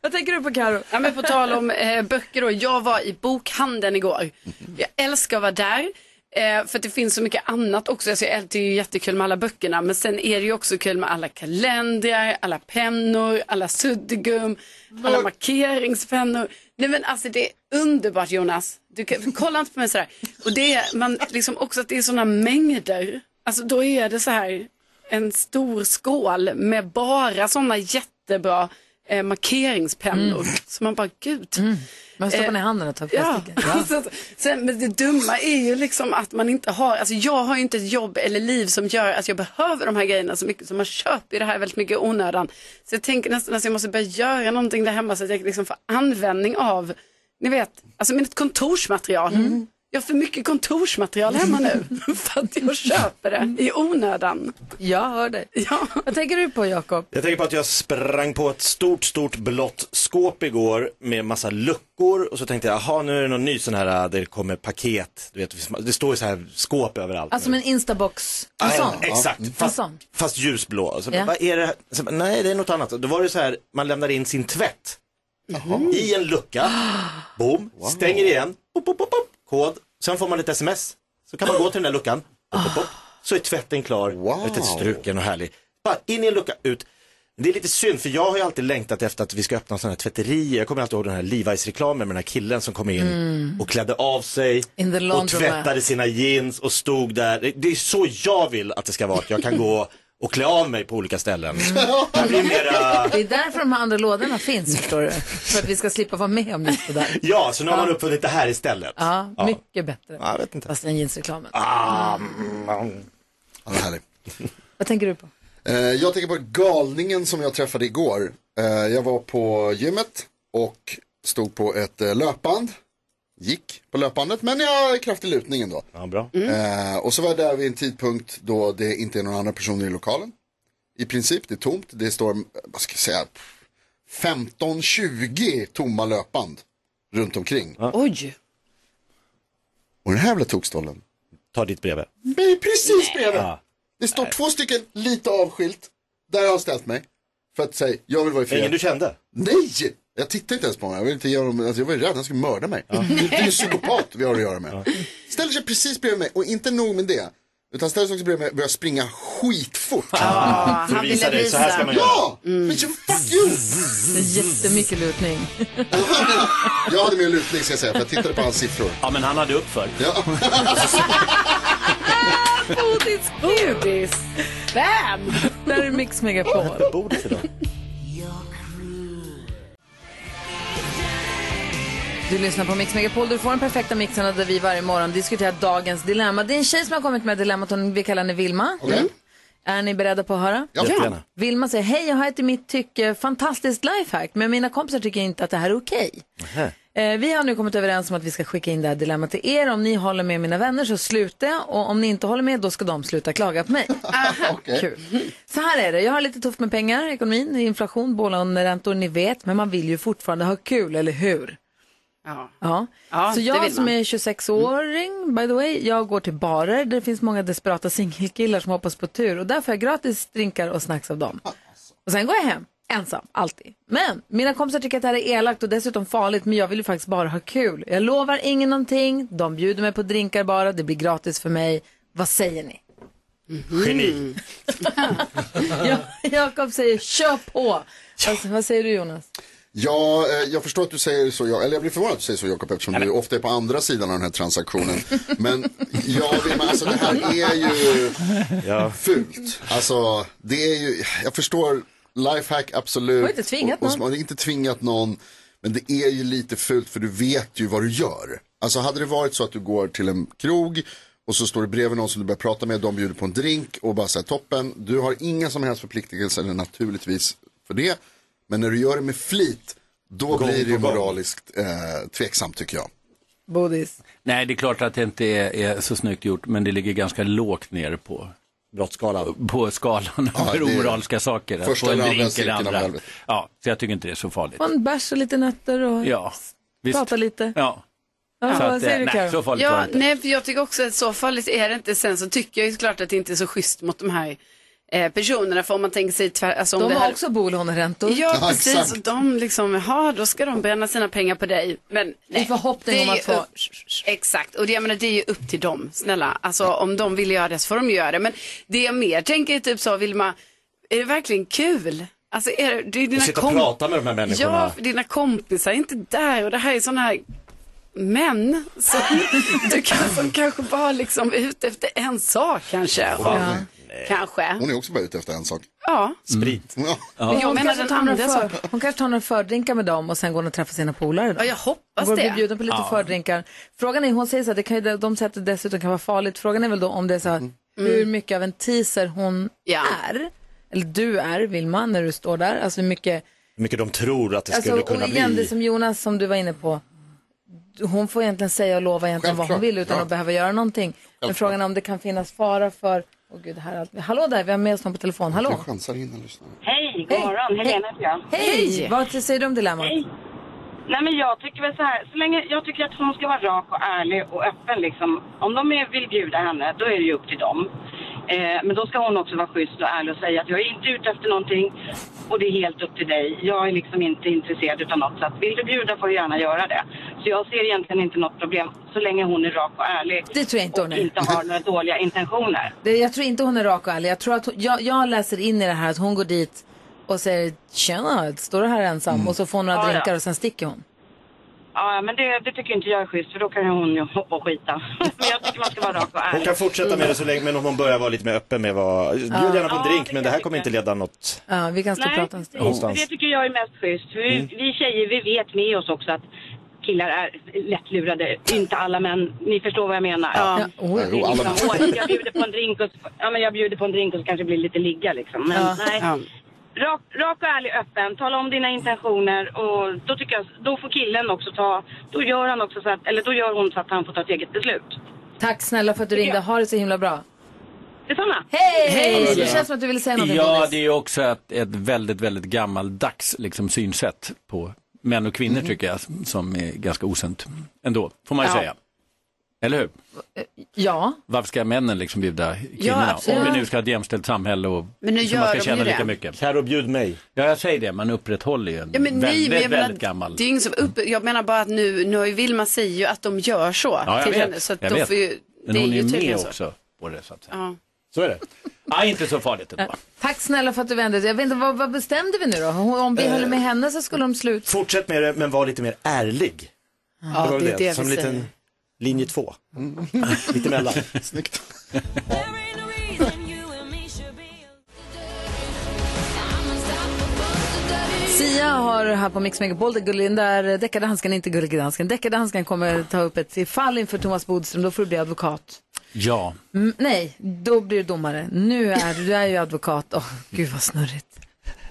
[SPEAKER 1] Vad tänker du på Karo?
[SPEAKER 2] Ja, men på tal om eh, böcker då. Jag var i bokhandeln igår. Jag älskar att vara där. Eh, för att det finns så mycket annat också. Alltså, jag- det är ju jättekul med alla böckerna. Men sen är det ju också kul med alla kalendrar, alla pennor, alla suddgum, alla markeringspennor. Nej men alltså det är underbart Jonas. Du kan, kolla inte på mig sådär. Och det är man, liksom också att det är sådana mängder. Alltså då är det så här en stor skål med bara sådana jättebra eh, markeringspennor. Så man bara, gud.
[SPEAKER 1] Man stoppar ner handen och tar
[SPEAKER 2] Mm. Ja.
[SPEAKER 1] plastiken.
[SPEAKER 2] Så att- Sen, men det dumma är ju liksom att man inte har, alltså jag har ju inte ett jobb eller liv som gör att jag behöver de här grejerna så mycket. Så man köper ju det här väldigt mycket i onödan. Så jag tänker nästan att jag måste börja göra någonting där hemma så att jag liksom får användning av, ni vet, alltså mitt kontorsmaterial. Jag har för mycket kontorsmaterial hemma nu för att jag köper det i onödan.
[SPEAKER 1] Jag hör dig.
[SPEAKER 2] Ja.
[SPEAKER 1] Vad tänker du på Jakob?
[SPEAKER 5] Jag tänker på att jag sprang på ett stort, stort blått skåp igår med massa luckor och så tänkte jag, jaha nu är det någon ny sån här, äh, det kommer paket, du vet, det finns- det står ju så här skåp överallt.
[SPEAKER 1] Alltså med en instabox, en
[SPEAKER 5] Ja,
[SPEAKER 1] sån.
[SPEAKER 5] exakt.
[SPEAKER 1] En
[SPEAKER 5] Fast,
[SPEAKER 1] sån.
[SPEAKER 5] fast ljusblå. Så,
[SPEAKER 1] Ja.
[SPEAKER 5] Vad är det här? Så, nej, det är något annat. Då var det så här, man lämnar in sin tvätt i en lucka, boom, stänger igen, pop, pop, pop, pop. kod, sen får man ett sms. Så kan man gå till den där luckan, pop, pop, pop. så är tvätten klar, wow. struken och härlig. Bara in i en lucka, ut. Det är lite synd för jag har ju alltid längtat efter att vi ska öppna sådana här tvätterier. Jag kommer alltid ihåg den här Levi's-reklamen med den här killen som kom in
[SPEAKER 1] Mm.
[SPEAKER 5] och klädde av sig
[SPEAKER 1] In the
[SPEAKER 5] och
[SPEAKER 1] laundromat.
[SPEAKER 5] tvättade sina jeans och stod där. Det- Det är så jag vill att det ska vara, att jag kan gå och klä av mig på olika ställen.
[SPEAKER 1] Mm.
[SPEAKER 5] Det blir mera...
[SPEAKER 1] Det är därför de här andra lådorna finns, förstår du. För att vi ska slippa vara med om just det där.
[SPEAKER 5] Ja, så nu har man uppfunnit det här istället.
[SPEAKER 1] Ja, mycket bättre.
[SPEAKER 5] Ja, jag vet inte.
[SPEAKER 1] Fast den jeansreklamen.
[SPEAKER 5] Ah, mm, mm.
[SPEAKER 4] Ja, det är härligt.
[SPEAKER 1] Vad tänker du på?
[SPEAKER 4] Eh, jag tänker på galningen som jag träffade igår. Eh, jag var på gymmet och stod på ett eh, löpband. Gick på löpbandet, men jag har kraftig lutning ändå.
[SPEAKER 5] Ja, bra.
[SPEAKER 4] Eh, och så var jag där vid en tidpunkt då det inte är några andra personer i lokalen. I princip, det är tomt. Det står, eh, vad ska jag säga, 15-20 tomma löpband runt omkring.
[SPEAKER 2] Oj!
[SPEAKER 4] Och den här jävla tokstollen.
[SPEAKER 5] Ta ditt bredvid.
[SPEAKER 4] Nej, precis bredvid.
[SPEAKER 5] Ja.
[SPEAKER 4] Det står två stycken lite avskilt. Där har jag ställt mig. För att säga, jag vill vara i fred.
[SPEAKER 5] Ingen du kände?
[SPEAKER 4] Nej! Jag tittade inte ens på honom. Jag, vill inte göra honom. Alltså, jag var ju rädd, han skulle mörda mig. Det, det är ju en psykopat vi har att göra med. Ställer sig precis bredvid mig och inte nog med det. Utan ställer sig också bredvid mig och börjar springa skitfort.
[SPEAKER 5] Mm.
[SPEAKER 1] Ah, För att han visa ville dig, så här ska visa. man göra.
[SPEAKER 4] Ja! Men jag, fuck you!
[SPEAKER 1] Det är jättemycket lutning.
[SPEAKER 4] Jag hade mer lutning ska jag säga, för jag tittade på hans siffror.
[SPEAKER 8] Ja, men han hade uppför.
[SPEAKER 4] Ja.
[SPEAKER 1] Bodis Bodis! Bam! Där är Mix Megapol.
[SPEAKER 5] Bodis idag.
[SPEAKER 1] Du lyssnar på Mix Megapol. Du får den perfekta mixen där vi varje morgon diskuterar dagens dilemma. Det är en tjej som har kommit med dilemmat. Hon, vi kallar henne Vilma. Mm. Är ni beredda på att höra?
[SPEAKER 5] Ja. Jättegärna.
[SPEAKER 1] Vilma säger, hej, jag har ett i mitt tycke fantastiskt lifehack, men mina kompisar tycker inte att det här är okej.
[SPEAKER 5] Nähä.
[SPEAKER 1] Eh, vi har nu kommit överens om att vi ska skicka in det här dilemmat till er. Om ni håller med mina vänner så slutar jag och om ni inte håller med då ska de sluta klaga på mig. Kul. Så här är det, jag har lite tufft med pengar, ekonomin, inflation, bolåneräntor, ni vet, men man vill ju fortfarande ha kul, eller hur?
[SPEAKER 2] Ja.
[SPEAKER 1] Ja.
[SPEAKER 2] Ja,
[SPEAKER 1] så
[SPEAKER 2] det
[SPEAKER 1] jag
[SPEAKER 2] vill
[SPEAKER 1] som
[SPEAKER 2] man.
[SPEAKER 1] är 26-åring, by the way, jag går till barer där det finns många desperata singelkillar som hoppas på tur och där får jag gratis drinkar och snacks av dem. Och sen går jag hem, ensam, alltid. Men mina kompisar tycker att det här är elakt och dessutom farligt, men jag vill ju faktiskt bara ha kul. Jag lovar ingen någonting, de bjuder mig på drinkar bara, det blir gratis för mig. Vad säger ni? Mm.
[SPEAKER 5] Geni.
[SPEAKER 1] Jakob säger kör på! Alltså, vad säger du Jonas?
[SPEAKER 4] Ja, eh, jag förstår att du säger så, jag, eller jag blir förvånad att du säger så Jakob eftersom du ofta är på andra sidan av den här transaktionen. Men ja, det- men alltså det här är ju fult. Alltså, det är ju, jag förstår lifehack absolut.
[SPEAKER 1] Du har inte tvingat
[SPEAKER 4] Och- och- Man har inte tvingat någon, men det är ju lite fult för du vet ju vad du gör. Alltså hade det varit så att du går till en krog och så står det bredvid någon som du börjar prata med, de bjuder på en drink och bara säger toppen, du har inga som helst förpliktelser naturligtvis för det. Men när du gör det med flit, då
[SPEAKER 8] Gång
[SPEAKER 4] blir det ju
[SPEAKER 8] på gång.
[SPEAKER 4] moraliskt eh, tveksamt tycker jag.
[SPEAKER 1] Bodis?
[SPEAKER 8] Nej, det är klart att det inte är, är så snyggt gjort, men det ligger ganska lågt nere på
[SPEAKER 5] brottsskalan.
[SPEAKER 8] På skalan
[SPEAKER 5] Ja,
[SPEAKER 8] för
[SPEAKER 5] det är-
[SPEAKER 8] omoraliska saker. Att
[SPEAKER 5] första
[SPEAKER 8] få en
[SPEAKER 5] eller andra
[SPEAKER 8] drink eller
[SPEAKER 5] cirkeln av
[SPEAKER 8] andra.
[SPEAKER 5] helvetet.
[SPEAKER 8] Ja, så jag tycker inte det är så farligt.
[SPEAKER 1] Man bärs och lite nötter och
[SPEAKER 8] Ja, visst.
[SPEAKER 1] pratar lite.
[SPEAKER 8] Ja.
[SPEAKER 1] Ja,
[SPEAKER 8] Så
[SPEAKER 1] vad
[SPEAKER 8] att,
[SPEAKER 1] säger
[SPEAKER 8] eh,
[SPEAKER 1] du,
[SPEAKER 8] nej,
[SPEAKER 1] Karo?
[SPEAKER 8] så farligt var det
[SPEAKER 2] Ja,
[SPEAKER 8] inte.
[SPEAKER 2] nej, för jag tycker också att så farligt är det inte. Sen så tycker jag ju såklart att det inte är så schysst mot de här eh, personerna. För om man tänker sig tvär, alltså om
[SPEAKER 1] De
[SPEAKER 2] det
[SPEAKER 1] har
[SPEAKER 2] här...
[SPEAKER 1] också bolåneräntor.
[SPEAKER 2] Ja, precis. Och de liksom, jaha, då ska de bränna sina pengar på dig. Men nej, I
[SPEAKER 1] förhoppning om att få-
[SPEAKER 2] Exakt, och det, jag menar, det är ju upp till dem, snälla. Alltså om de vill göra det så får de göra det. Men det jag mer tänker är typ så, Vilma, är det verkligen kul? Alltså är det, det är dina
[SPEAKER 5] Och sitta och
[SPEAKER 2] kom-
[SPEAKER 5] prata med de här människorna.
[SPEAKER 2] Ja, för dina kompisar är inte där och det här är sådana här män som, du kan, som kanske bara liksom är ute efter en sak kanske.
[SPEAKER 4] Wow.
[SPEAKER 2] Ja. Kanske.
[SPEAKER 4] Hon är också bara ute efter en sak.
[SPEAKER 2] Ja.
[SPEAKER 5] Sprit.
[SPEAKER 4] Ja.
[SPEAKER 2] Men jag
[SPEAKER 1] hon,
[SPEAKER 2] menar
[SPEAKER 1] kanske
[SPEAKER 2] den
[SPEAKER 1] tar några
[SPEAKER 2] andra
[SPEAKER 1] för,
[SPEAKER 2] saken.
[SPEAKER 1] hon kanske tar några fördrinkar med dem och sen går hon och träffar sina polare. Då. Ja, jag
[SPEAKER 2] hoppas
[SPEAKER 1] hon går och blir
[SPEAKER 2] det.
[SPEAKER 1] bjuden på lite
[SPEAKER 2] Ja.
[SPEAKER 1] fördrinkar. Frågan är, hon säger så här, det kan ju, de säger att det dessutom kan vara farligt. Frågan är väl då om det är så här,
[SPEAKER 2] Mm.
[SPEAKER 1] hur mycket av en teaser hon är, eller du är, Vilma, när du står där. Alltså hur mycket,
[SPEAKER 5] Hur mycket de tror att det
[SPEAKER 1] alltså,
[SPEAKER 5] skulle kunna
[SPEAKER 1] och igen
[SPEAKER 5] bli.
[SPEAKER 1] det som Jonas, som du var inne på, hon får egentligen säga och lova egentligen vad hon
[SPEAKER 5] Självklart,
[SPEAKER 1] vill utan
[SPEAKER 5] ja.
[SPEAKER 1] att behöva göra någonting. Men frågan är om det kan finnas fara för, åh gud, det här är allt. Hallå där, vi har med oss någon på telefon, hallå.
[SPEAKER 4] Jag chansar in och lyssnar.
[SPEAKER 10] Hej, god morgon. Helena heter jag.
[SPEAKER 1] Hej! Vad säger du om dilemmat?
[SPEAKER 10] Hej. Nej, men jag tycker väl så här. Så länge, jag tycker att hon ska vara rak och ärlig och öppen. Liksom. Om de är, vill bjuda henne, då är det ju upp till dem. Eh, men då ska hon också vara schysst och ärlig och säga att jag är inte ute efter någonting och det är helt upp till dig. Jag är liksom inte intresserad av något. Så att vill du bjuda får du gärna göra det. Så jag ser egentligen inte något problem så länge hon är rak och ärlig.
[SPEAKER 1] Det tror jag inte hon
[SPEAKER 10] och
[SPEAKER 1] är.
[SPEAKER 10] inte har några dåliga intentioner.
[SPEAKER 1] Det, jag tror inte hon är rak och ärlig. Jag, tror att hon, jag, jag läser in i det här att hon går dit och säger tjena, står du här ensam? Och så får hon några
[SPEAKER 10] Ja, ja.
[SPEAKER 1] drinkar och sen sticker hon.
[SPEAKER 10] Ja, men det, det tycker inte jag är schysst för då kan hon ju hoppa och skita. men jag tycker man ska vara rak och ärlig.
[SPEAKER 5] Hon kan fortsätta med det så länge, men om hon börjar vara lite mer öppen med vad, bjud
[SPEAKER 10] Ja.
[SPEAKER 5] gärna på en
[SPEAKER 10] Ja,
[SPEAKER 5] drink,
[SPEAKER 10] det
[SPEAKER 5] men det här kommer inte leda något.
[SPEAKER 1] Ja, vi kan stå och
[SPEAKER 10] Nej,
[SPEAKER 1] prata en stund.
[SPEAKER 10] precis. det tycker jag är mest schysst. För vi,
[SPEAKER 5] Mm.
[SPEAKER 10] vi tjejer, vi vet med oss också att killar är lättlurade. Inte alla, men ni förstår vad jag menar.
[SPEAKER 1] Ja.
[SPEAKER 10] Ja.
[SPEAKER 1] oj.
[SPEAKER 10] Det är
[SPEAKER 1] Jo, alla-
[SPEAKER 10] liksom, "Åh, jag, bjuder på en drink och, så- ja, men jag bjuder på en drink och så kanske det blir lite ligga liksom. Men,
[SPEAKER 1] Ja.
[SPEAKER 10] nej.
[SPEAKER 1] Ja.
[SPEAKER 10] Rak, rak och ärlig, öppen. Tala om dina intentioner och då tycker jag, då får killen också ta, då gör han också så att, eller då gör hon så att han får ta ett eget beslut.
[SPEAKER 1] Tack snälla för att du ringde. Ha det så himla bra.
[SPEAKER 10] Detsamma.
[SPEAKER 1] Hej!
[SPEAKER 10] Hej!
[SPEAKER 1] Det känns som att du ville säga någonting
[SPEAKER 8] Ja,
[SPEAKER 1] Boris.
[SPEAKER 8] det är också ett, ett väldigt, väldigt gammaldags liksom, synsätt på män och kvinnor tycker jag, som är ganska osunt ändå, får man ju
[SPEAKER 1] Ja.
[SPEAKER 8] säga. Eller hur?
[SPEAKER 1] Ja.
[SPEAKER 8] Varför ska männen liksom bjuda kvinnorna?
[SPEAKER 1] absolut.
[SPEAKER 8] Om vi nu ska ha ett jämställt samhälle och
[SPEAKER 11] Men nu
[SPEAKER 8] så
[SPEAKER 11] gör
[SPEAKER 8] man
[SPEAKER 11] de
[SPEAKER 8] ska
[SPEAKER 11] ju
[SPEAKER 8] tjäna lika
[SPEAKER 11] det.
[SPEAKER 8] mycket. Karo, bjud mig. Ja, jag säger det, man upprätthåller ju en
[SPEAKER 11] Ja, men nej,
[SPEAKER 8] väldigt,
[SPEAKER 11] men jag menar,
[SPEAKER 8] väldigt gammal...
[SPEAKER 11] det är ingen som upp, jag menar bara att nu, nu har ju Vilma säger ju att de gör så
[SPEAKER 8] Ja, jag
[SPEAKER 11] till
[SPEAKER 8] vet.
[SPEAKER 11] henne. Så att
[SPEAKER 8] jag
[SPEAKER 11] då
[SPEAKER 8] vet.
[SPEAKER 11] får ju,
[SPEAKER 8] men
[SPEAKER 11] det är
[SPEAKER 8] hon
[SPEAKER 11] ju
[SPEAKER 8] är ju med
[SPEAKER 11] tydligen så.
[SPEAKER 8] också på det, så att säga.
[SPEAKER 11] Ja.
[SPEAKER 8] Så är det. Ja, inte så farligt ändå.
[SPEAKER 1] Tack snälla för att du vände dig. Jag vet inte, vad, vad bestämde vi nu då? Hon- Om vi
[SPEAKER 5] Eh.
[SPEAKER 1] höll med henne så skulle de sluta.
[SPEAKER 5] Fortsätt med det, men var lite mer ärlig.
[SPEAKER 1] Ja,
[SPEAKER 5] var väl
[SPEAKER 1] det är det vi
[SPEAKER 5] Som en
[SPEAKER 1] säger. Mm.
[SPEAKER 5] liten linje två. lite mellan.
[SPEAKER 4] Snyggt.
[SPEAKER 1] Sia har här på Mix Megapol, där Gullin- där deckardansken, inte Gulledansken, deckardansken kommer ta upp ett fall inför Thomas Bodström, då får du bli advokat.
[SPEAKER 8] Ja.
[SPEAKER 1] Mm, nej, då blir du domare. Nu är du, du är ju advokat. Åh, gud vad snurrigt.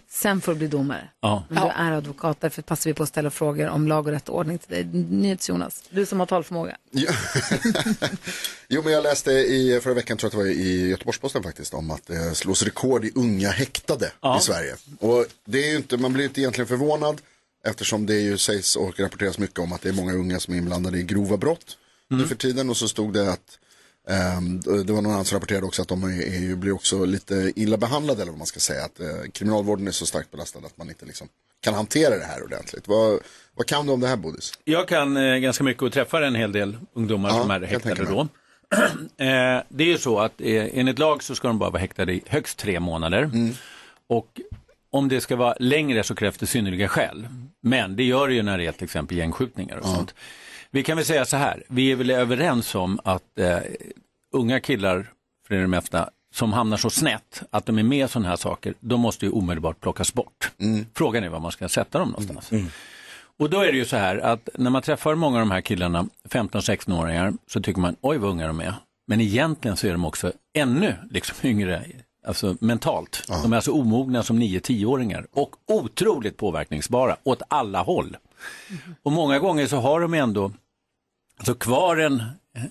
[SPEAKER 1] Sen får du bli domare.
[SPEAKER 8] Ja.
[SPEAKER 1] Men du är advokat, därför passar vi på att ställa frågor om lag och rätt och ordning till dig. NyhetsJonas, du som har talförmåga.
[SPEAKER 4] Jo, men jag läste i förra veckan, tror jag att det var i Göteborgs-Posten faktiskt, om att det slås rekord i unga häktade i Sverige. Och det är ju inte, man blir ju inte egentligen förvånad eftersom det ju sägs och rapporteras mycket om att det är många unga som är inblandade i grova brott nu för tiden. Och så stod det att ehm, det var någon annan som rapporterade också att de är, är, ju- blir också lite illa behandlade eller vad man ska säga. Att eh, kriminalvården är så starkt belastad att man inte liksom kan hantera det här ordentligt. Vad, vad kan du om det här Bodis?
[SPEAKER 8] Jag kan eh, ganska mycket och träffar en hel del ungdomar som är häktade då. eh, det är ju så att eh, enligt lag så ska de bara vara häktade i högst tre månader. Och om det ska vara längre så krävs det synnerliga skäl. Men det gör det ju när det är till exempel gängskjutningar och sånt. Vi kan väl säga så här, vi är väl överens om att eh, unga killar, för det är det mesta, som hamnar så snett att de är med i sådana här saker, de måste ju omedelbart plockas bort. Frågan är var man ska sätta dem någonstans. Och då är det ju så här att när man träffar många av de här killarna, 15-16-åringar, så tycker man oj vad unga de är. Men egentligen så är de också ännu liksom yngre, alltså mentalt. De är alltså omogna som 9-10-åringar och otroligt påverkningsbara åt alla håll. Och många gånger så har de ändå alltså kvar en,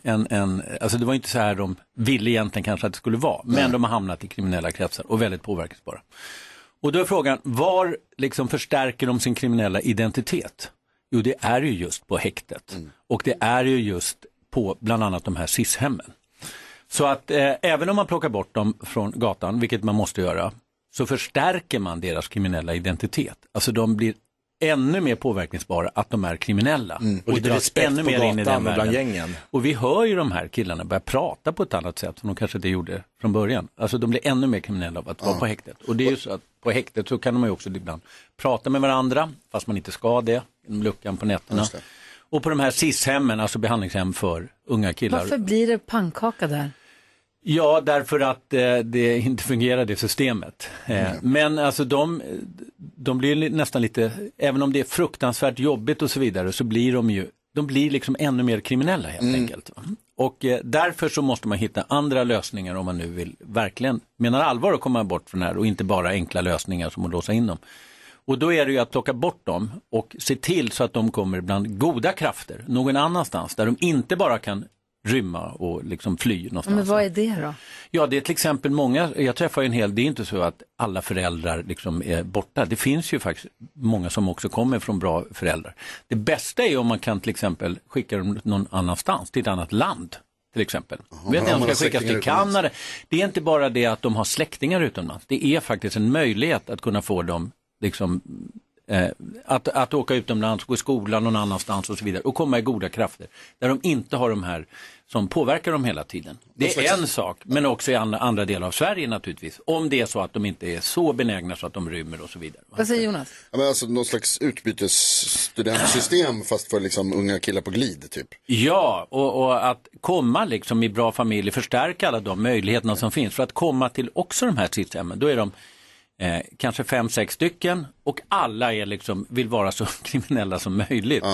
[SPEAKER 8] en, en, alltså det var inte så här de ville egentligen kanske att det skulle vara, men de har hamnat i kriminella kretsar och väldigt påverkningsbara. Och då är frågan, var liksom förstärker de sin kriminella identitet? Jo, det är ju just på häktet
[SPEAKER 5] Mm.
[SPEAKER 8] och det är ju just på bland annat de här SIS-hemmen. Så att eh, även om man plockar bort dem från gatan, vilket man måste göra, så förstärker man deras kriminella identitet. Alltså de blir ännu mer påverkningsbara att de är kriminella.
[SPEAKER 5] Mm. Och lite respekt på gatan och bland gängen.
[SPEAKER 8] Och vi hör ju de här killarna börja prata på ett annat sätt som de kanske inte gjorde från början. Alltså de blir ännu mer kriminella av att vara på häktet. Och det är ju så att på häktet så kan de ju också ibland prata med varandra, fast man inte ska det, genom luckan på nätterna. Och på de här SIS-hemmen, alltså behandlingshem för unga killar.
[SPEAKER 1] Varför blir det pannkaka där?
[SPEAKER 8] Ja, därför att eh, det inte fungerar det systemet. Eh, Men alltså de, de blir li- nästan lite, även om det är fruktansvärt jobbigt och så vidare, så blir de ju, de blir liksom ännu mer kriminella helt enkelt. va. Och eh, därför så måste man hitta andra lösningar om man nu vill verkligen menar allvar att komma bort från det här och inte bara enkla lösningar som att låsa in dem. Och då är det ju att plocka bort dem och se till så att de kommer bland goda krafter någon annanstans där de inte bara kan rymma och liksom fly någonstans.
[SPEAKER 1] Men vad är det då?
[SPEAKER 8] Ja, det är till exempel många, jag träffar ju en hel, det är inte så att alla föräldrar liksom är borta. Det finns ju faktiskt många som också kommer från bra föräldrar. Det bästa är ju om man kan till exempel skicka dem någon annanstans, till ett annat land. Till exempel.
[SPEAKER 5] om
[SPEAKER 8] Vet ni,
[SPEAKER 5] man
[SPEAKER 8] de
[SPEAKER 5] har
[SPEAKER 8] ska skickas
[SPEAKER 5] släktingar
[SPEAKER 8] till
[SPEAKER 5] utomlands.
[SPEAKER 8] Kanada. Det är inte bara det att de har släktingar utomlands. Det är faktiskt en möjlighet att kunna få dem liksom Eh, att, att åka utomlands, gå i skolan någon annanstans och så vidare och komma i goda krafter där de inte har de här som påverkar dem hela tiden.
[SPEAKER 9] Någon
[SPEAKER 8] Det
[SPEAKER 9] slags-
[SPEAKER 8] är en sak, men också i andra, andra delar av Sverige naturligtvis. Om det är så att de inte är så benägna så att de rymmer och så vidare.
[SPEAKER 1] Vad säger Jonas?
[SPEAKER 4] Ja, men alltså, någon slags utbytesstudentsystem fast för liksom unga killar på glid typ.
[SPEAKER 8] Ja, och, och att komma liksom i bra familj, förstärka alla de möjligheterna som finns. För att komma till också de här systemen, då är de eh, kanske fem, sex stycken och alla är liksom, vill vara så kriminella som möjligt.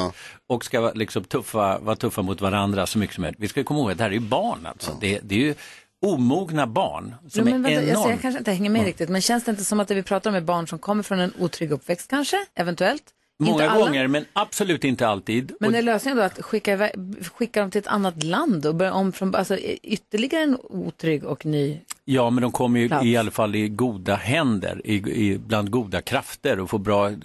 [SPEAKER 8] Och ska vara liksom tuffa, vara tuffa mot varandra så mycket som möjligt. Vi ska komma ihåg att det här är ju barn alltså. Det, det är ju omogna barn som
[SPEAKER 1] men
[SPEAKER 8] är
[SPEAKER 1] vänta, alltså, jag, ser, jag
[SPEAKER 8] enormt.
[SPEAKER 1] kanske inte hänger med riktigt, men känns det inte som att det vi pratar om är barn som kommer från en otrygg uppväxt kanske, eventuellt? inte
[SPEAKER 8] Många
[SPEAKER 1] alla.
[SPEAKER 8] gånger, men absolut inte alltid.
[SPEAKER 1] Men är lösningen då att skicka, iväg- skicka dem till ett annat land och börja om från alltså, y- ytterligare en otrygg och ny?
[SPEAKER 8] Ja, men de kommer ju
[SPEAKER 1] Plats.
[SPEAKER 8] i alla fall i goda händer, i, i, bland goda krafter och får bra
[SPEAKER 1] Har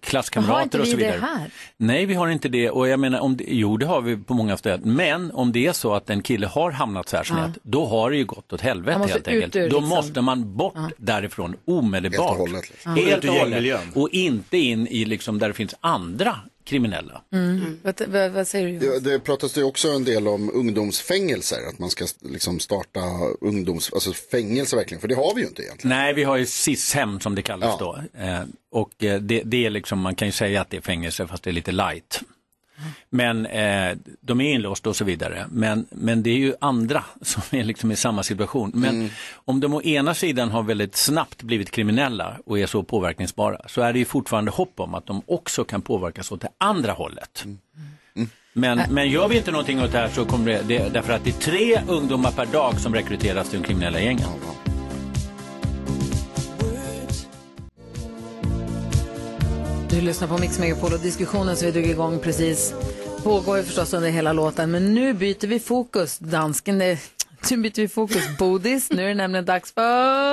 [SPEAKER 8] klasskamrater
[SPEAKER 1] inte
[SPEAKER 8] och
[SPEAKER 1] vi
[SPEAKER 8] så vidare.
[SPEAKER 1] det här?
[SPEAKER 8] Nej, vi har inte det. Och jag menar, om det, jo, det har vi på många ställen. Men om det är så att en kille har hamnat så här snett,
[SPEAKER 1] Ja.
[SPEAKER 8] då har det ju gått åt helvete
[SPEAKER 1] Han måste
[SPEAKER 8] helt
[SPEAKER 1] ut
[SPEAKER 8] enkelt.
[SPEAKER 1] ur,
[SPEAKER 8] Då
[SPEAKER 1] liksom.
[SPEAKER 8] måste man bort därifrån omedelbart.
[SPEAKER 4] Helt och hållet,
[SPEAKER 1] liksom.
[SPEAKER 8] Helt
[SPEAKER 1] Ja. Ut
[SPEAKER 8] och
[SPEAKER 1] ur
[SPEAKER 8] hållet.
[SPEAKER 1] gängmiljön.
[SPEAKER 8] Och inte in i liksom där det finns andra kriminella.
[SPEAKER 1] Mm. Vad, vad, vad säger du? Jonas?
[SPEAKER 4] Ja, det pratas ju också en del om ungdomsfängelser, att man ska liksom starta ungdoms, alltså fängelse verkligen, för det har vi ju inte egentligen.
[SPEAKER 8] Nej, vi har ju SIS-hem som det kallas då. Eh, och eh, det, det är liksom, man kan ju säga att det är fängelse fast det är lite light. Men eh, de är inlåsta och så vidare. Men, men det är ju andra som är liksom i samma situation. Men om de å ena sidan har väldigt snabbt blivit kriminella och är så påverkningsbara så är det ju fortfarande hopp om att de också kan påverkas åt det andra hållet. Mm. Men, men gör vi inte någonting åt det här så kommer det, det, därför att det är tre ungdomar per dag som rekryteras till de kriminella gängen.
[SPEAKER 1] Du lyssnar på Mix Megapol och diskussionen som vi drog igång precis pågår ju förstås under hela låten. Men nu byter vi fokus, dansken. är- Nu byter vi fokus, Bodis. Nu är det nämligen dags för...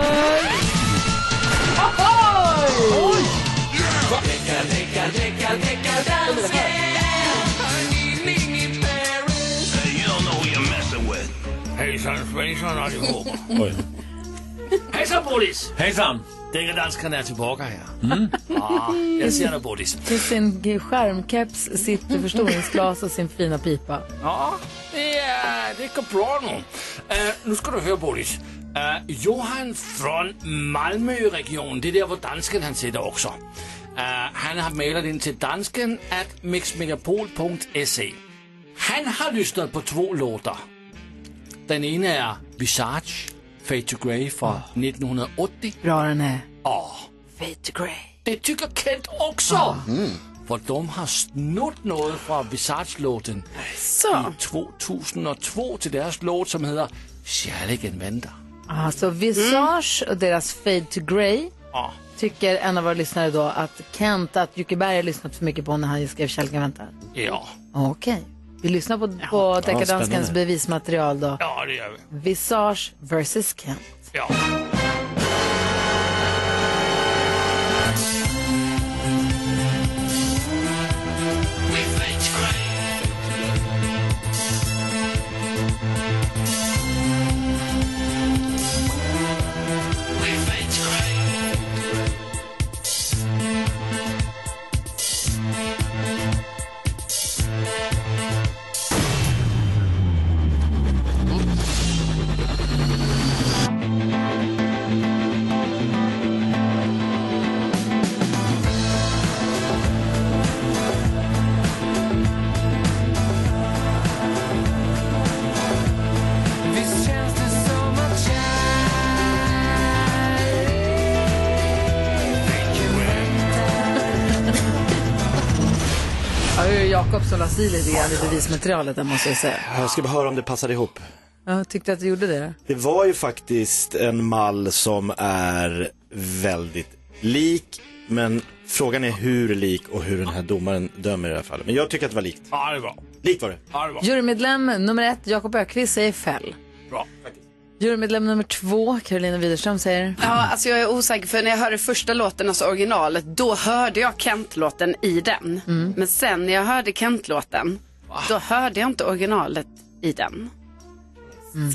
[SPEAKER 1] Ahoy!
[SPEAKER 3] Hejsan svejsan allihopa.
[SPEAKER 8] Oj.
[SPEAKER 3] Hejsan Bodis!
[SPEAKER 8] Hejsan!
[SPEAKER 3] Dänge danskarna är tillbaka här.
[SPEAKER 8] Mm.
[SPEAKER 3] Ah, jag ser dig Bodis.
[SPEAKER 1] Till sin skärmkeps, sitt förstoringsglas och sin fina pipa.
[SPEAKER 3] Ja, det, är, det går bra nu. Eh, nu ska du höra Bodis. Eh, Johan från Malmöregionen, det är där var dansken han sitter också. Eh, han har mejlat in till dansken at mixmegapol.se. E. Han har lyssnat på två låtar. Den ena är Visage, Fade to Grey från
[SPEAKER 8] Ah.
[SPEAKER 3] 1980.
[SPEAKER 1] Bra den är.
[SPEAKER 3] Ja. Fade to Grey. Det tycker Kent också. För de har snott något från Visage-låten i 2002 till deras låt som heter Kärleken väntar.
[SPEAKER 1] Alltså Visage och deras Fade to Grey
[SPEAKER 3] Ja.
[SPEAKER 1] tycker en av våra lyssnare då att Kent, att Jocke Berg har lyssnat för mycket på när han skrev Kälken väntar.
[SPEAKER 3] Ja.
[SPEAKER 1] Okej. Vi lyssnar på, på Deckardanskens
[SPEAKER 3] spännande.
[SPEAKER 1] bevismaterial då.
[SPEAKER 3] Ja, det gör vi.
[SPEAKER 1] Visage versus Kent.
[SPEAKER 3] Ja.
[SPEAKER 12] Visst känns det som att
[SPEAKER 1] Ja, det är ju Jakob som la sig i lite grann i bevismaterialet där måste jag säga.
[SPEAKER 5] Jag ska bara höra om det passar ihop.
[SPEAKER 1] Jag tyckte att du gjorde det.
[SPEAKER 5] Det var ju faktiskt en mall som är väldigt lik, men frågan är hur lik och hur den här domaren dömer i det här fallet. Men jag tycker att det var likt.
[SPEAKER 3] Ja, det var.
[SPEAKER 5] Likt var det.
[SPEAKER 3] Ja, det var.
[SPEAKER 1] Jurymedlem nummer ett, Jakob Ökvist säger fäll.
[SPEAKER 3] Bra.
[SPEAKER 1] Jurymedlem nummer två, Carolina Widerström säger...
[SPEAKER 2] Ja, alltså jag är osäker för när jag hörde första låten, alltså originalet, då hörde jag Kent-låten i den. Men sen när jag hörde Kent-låten, då hörde jag inte originalet i den.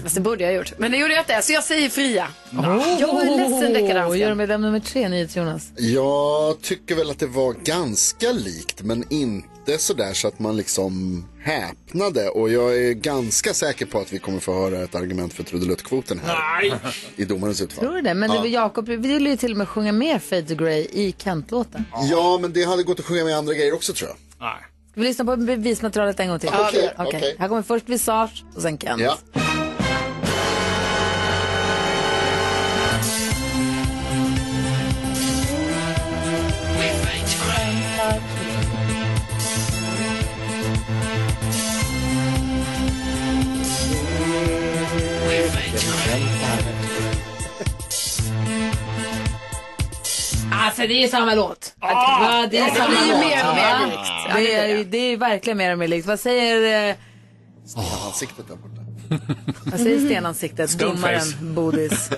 [SPEAKER 2] Fast det borde jag ha gjort. Men det gjorde jag inte, så jag säger fria.
[SPEAKER 1] Oh.
[SPEAKER 2] Jag är ledsen,
[SPEAKER 1] Och gör
[SPEAKER 2] dekadansken.
[SPEAKER 1] med dem nummer tre, NyhetsJonas.
[SPEAKER 4] Jag tycker väl att det var ganska likt men inte sådär så att man liksom häpnade och jag är ganska säker på att vi kommer få höra ett argument för trudeluttkvoten här i domarens utfall.
[SPEAKER 1] Tror du det? Men det
[SPEAKER 4] Ja.
[SPEAKER 1] var Jakob, vi ville ju till och med sjunga med Fade to Grey i Kent-låten.
[SPEAKER 4] Ja, men det hade gått att sjunga med andra grejer också tror jag.
[SPEAKER 1] Ska vi lyssna på bevismaterialet en gång till?
[SPEAKER 4] Ja, Okej,
[SPEAKER 1] Okej.
[SPEAKER 4] okej.
[SPEAKER 1] Här kommer först Visage och sen Kent.
[SPEAKER 4] Ja.
[SPEAKER 1] Alltså det är samma låt. Va, det är
[SPEAKER 2] det
[SPEAKER 1] samma
[SPEAKER 2] blir ju
[SPEAKER 1] låt.
[SPEAKER 2] mer och mer
[SPEAKER 1] va?
[SPEAKER 2] likt. Ja,
[SPEAKER 1] Det
[SPEAKER 2] det
[SPEAKER 1] är,
[SPEAKER 2] blir
[SPEAKER 1] ju- det är ju verkligen mer och mer likt. Vad säger, eh,
[SPEAKER 4] Oh. Ansiktet där borta.
[SPEAKER 1] vad säger stenansiktet, domaren Bodis?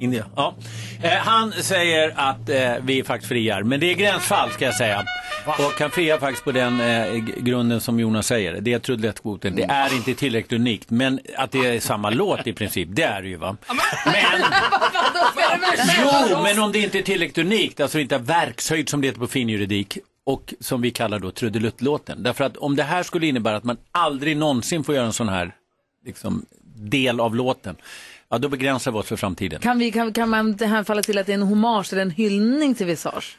[SPEAKER 8] India. Ja. Eh, han säger att eh, vi faktiskt friar, men det är gränsfall ska jag säga. Och kan fria faktiskt på den eh, g- grunden som Jonas säger. Det är trudelettkvoten. Det är inte tillräckligt unikt, men att det är samma låt i princip, det är det ju va. Jo, men om det inte är tillräckligt unikt, alltså inte har verkshöjd som det heter på fin juridik och som vi kallar då trudeluttlåten. Därför att om det här skulle innebära att man aldrig någonsin får göra en sån här liksom, del av låten, ja då begränsar vi oss för framtiden.
[SPEAKER 1] Kan, vi, kan, kan man det här falla till att det är en hommage eller en hyllning till Visage?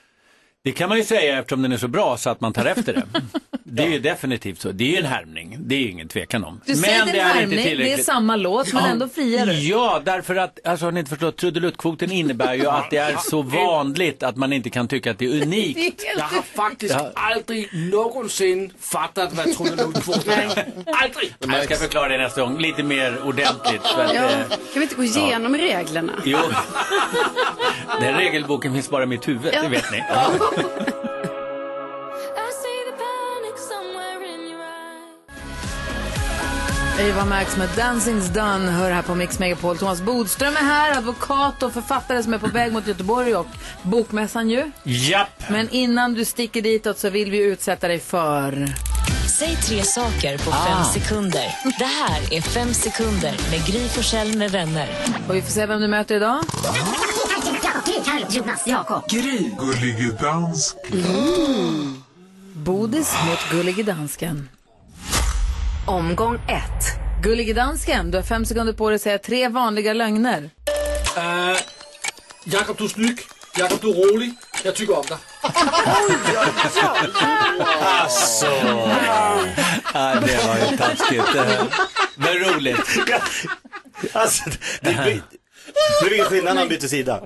[SPEAKER 8] Det kan man ju säga eftersom den är så bra så att man tar efter den. Det är ju definitivt så. Det är ju en härmning, det är ju ingen tvekan om.
[SPEAKER 1] Du säger det är en härmning, det är
[SPEAKER 8] tillräckligt.
[SPEAKER 1] samma låt men
[SPEAKER 8] Ja.
[SPEAKER 1] ändå friar du.
[SPEAKER 8] Ja, därför att, alltså har ni inte förstått, trudeluttkvoten innebär ju att det är så vanligt att man inte kan tycka att det är unikt.
[SPEAKER 13] Jag har faktiskt
[SPEAKER 8] Ja.
[SPEAKER 13] aldrig någonsin fattat vad trudeluttkvoten är. Aldrig!
[SPEAKER 8] Jag ska förklara det nästa gång, lite mer ordentligt. För att,
[SPEAKER 2] Ja,
[SPEAKER 8] eh,
[SPEAKER 2] kan vi inte gå igenom reglerna?
[SPEAKER 8] jo. Den regelboken finns bara i mitt huvud, det vet ni.
[SPEAKER 1] Eva Max med Dancing's Done hör här på Mix Megapol. Thomas Bodström är här, advokat och författare som är på väg mot Göteborg och Bokmässan ju.
[SPEAKER 8] Japp!
[SPEAKER 1] Men innan du sticker ditåt så vill vi utsätta dig för...
[SPEAKER 14] Säg tre saker på
[SPEAKER 1] Ah.
[SPEAKER 14] fem sekunder. Det här är Fem sekunder med Gry Forssell med vänner.
[SPEAKER 1] Och vi får se vem du möter idag.
[SPEAKER 14] Jonas, Jakob.
[SPEAKER 15] Gry. Gullige dansk.
[SPEAKER 1] Mm. Bodis mot Gullige Dansken.
[SPEAKER 14] Omgång ett.
[SPEAKER 1] Gullige Dansken, du har fem sekunder på dig att säga tre vanliga lögner.
[SPEAKER 13] Uh, Jakob, du är snygg. Jakob, du är rolig. Jag tycker om dig.
[SPEAKER 8] Alltså. Ja, det var ju taskigt. Eh, Men roligt.
[SPEAKER 5] Alltså, det blir... Nu är det skillnad när man byter sida.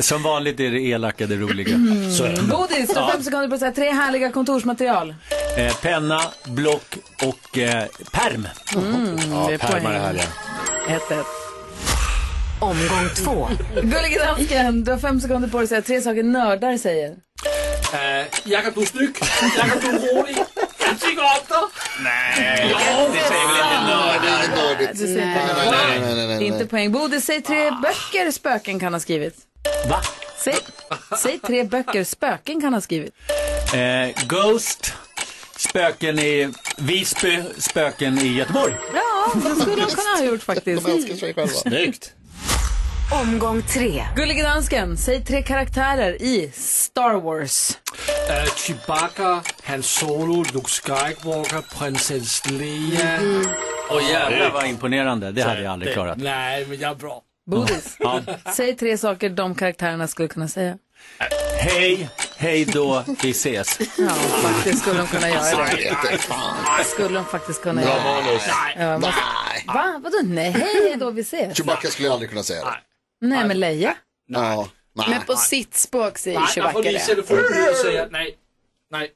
[SPEAKER 8] Som vanligt är det elaka det roliga. Så är det.
[SPEAKER 1] Bodis, du har
[SPEAKER 8] Ja.
[SPEAKER 1] fem sekunder på dig att säga tre härliga kontorsmaterial.
[SPEAKER 8] Eh, penna, block och eh, perm.
[SPEAKER 1] Mm, det är poäng.
[SPEAKER 8] härliga.
[SPEAKER 1] 1-1.
[SPEAKER 14] Omgång två.
[SPEAKER 1] Gullige Dansken, du har fem sekunder på dig att säga tre saker nördar säger.
[SPEAKER 13] Uh, Jakob, du är snygg. Jakob, du är rolig. Jag tycker om dig.
[SPEAKER 8] Nej,
[SPEAKER 13] det säger väl inte
[SPEAKER 4] nördar? Det är
[SPEAKER 1] Du säger
[SPEAKER 4] Nej,
[SPEAKER 1] inte
[SPEAKER 4] nej, nej, nej,
[SPEAKER 1] poäng.
[SPEAKER 4] nej, nej.
[SPEAKER 1] Det är inte poäng. Bodis, säg tre böcker spöken kan ha skrivit.
[SPEAKER 8] Va?
[SPEAKER 1] Säg, säg tre böcker spöken kan ha skrivit.
[SPEAKER 8] Eh, Ghost, spöken i Visby, spöken i Göteborg.
[SPEAKER 1] Ja, det skulle de kunna ha gjort faktiskt.
[SPEAKER 4] De älskar sig själva.
[SPEAKER 8] Snyggt.
[SPEAKER 14] Omgång tre.
[SPEAKER 1] Gullige Dansken, säg tre karaktärer i Star Wars.
[SPEAKER 13] Uh, Chewbacca, Han Solo, Luke Skywalker, Prinsess Leia.
[SPEAKER 8] Och jävlar vad imponerande, det hade jag aldrig klarat.
[SPEAKER 13] Nej, men jag är bra.
[SPEAKER 1] Bodis.
[SPEAKER 8] Ja.
[SPEAKER 1] Säg tre saker de karaktärerna skulle kunna säga.
[SPEAKER 8] Hej, hej då, vi ses.
[SPEAKER 1] Ja, faktiskt skulle de kunna göra
[SPEAKER 8] Alltså,
[SPEAKER 1] det.
[SPEAKER 8] nej,
[SPEAKER 1] Skulle de faktiskt kunna
[SPEAKER 4] Bra
[SPEAKER 1] göra
[SPEAKER 4] manus.
[SPEAKER 1] Ja, man-
[SPEAKER 4] Nej.
[SPEAKER 1] Va? Vadå nej? Hej då, vi ses.
[SPEAKER 4] Chewbacca skulle jag aldrig kunna säga det.
[SPEAKER 1] Nej, men Leia.
[SPEAKER 4] Ja, nej.
[SPEAKER 2] Men på sitt språk säger
[SPEAKER 13] Nej, jag
[SPEAKER 2] Chewbacca
[SPEAKER 13] får lysa det får du säga nej. Nej.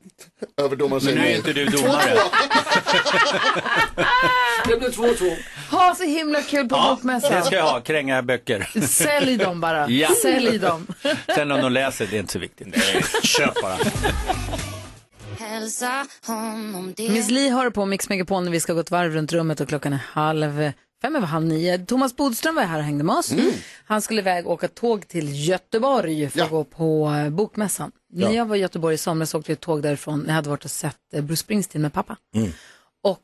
[SPEAKER 4] Överdomaren
[SPEAKER 8] Men
[SPEAKER 4] säger
[SPEAKER 8] nu är
[SPEAKER 4] nej.
[SPEAKER 8] inte du domare.
[SPEAKER 13] Det blev 2-2.
[SPEAKER 1] Ha så himla kul på
[SPEAKER 8] Ja, det
[SPEAKER 1] bokmässan.
[SPEAKER 8] ska jag ha, kränga böcker.
[SPEAKER 1] Sälj dem bara.
[SPEAKER 8] Ja.
[SPEAKER 1] Sälj dem.
[SPEAKER 8] Sen om de läser, det är inte så viktigt. Köp bara.
[SPEAKER 16] Hälsa honom det.
[SPEAKER 1] Miss Li har på Mix Megapol när vi ska gå ett varv runt rummet och klockan är halv fem över halv nio. Thomas Bodström var här och hängde med oss. Han skulle iväg och åka tåg till Göteborg för att gå på eh, Bokmässan.
[SPEAKER 16] Ja.
[SPEAKER 1] När jag var i Göteborg i somras åkte jag tåg därifrån. Jag hade varit och sett eh, Bruce Springsteen med pappa. Och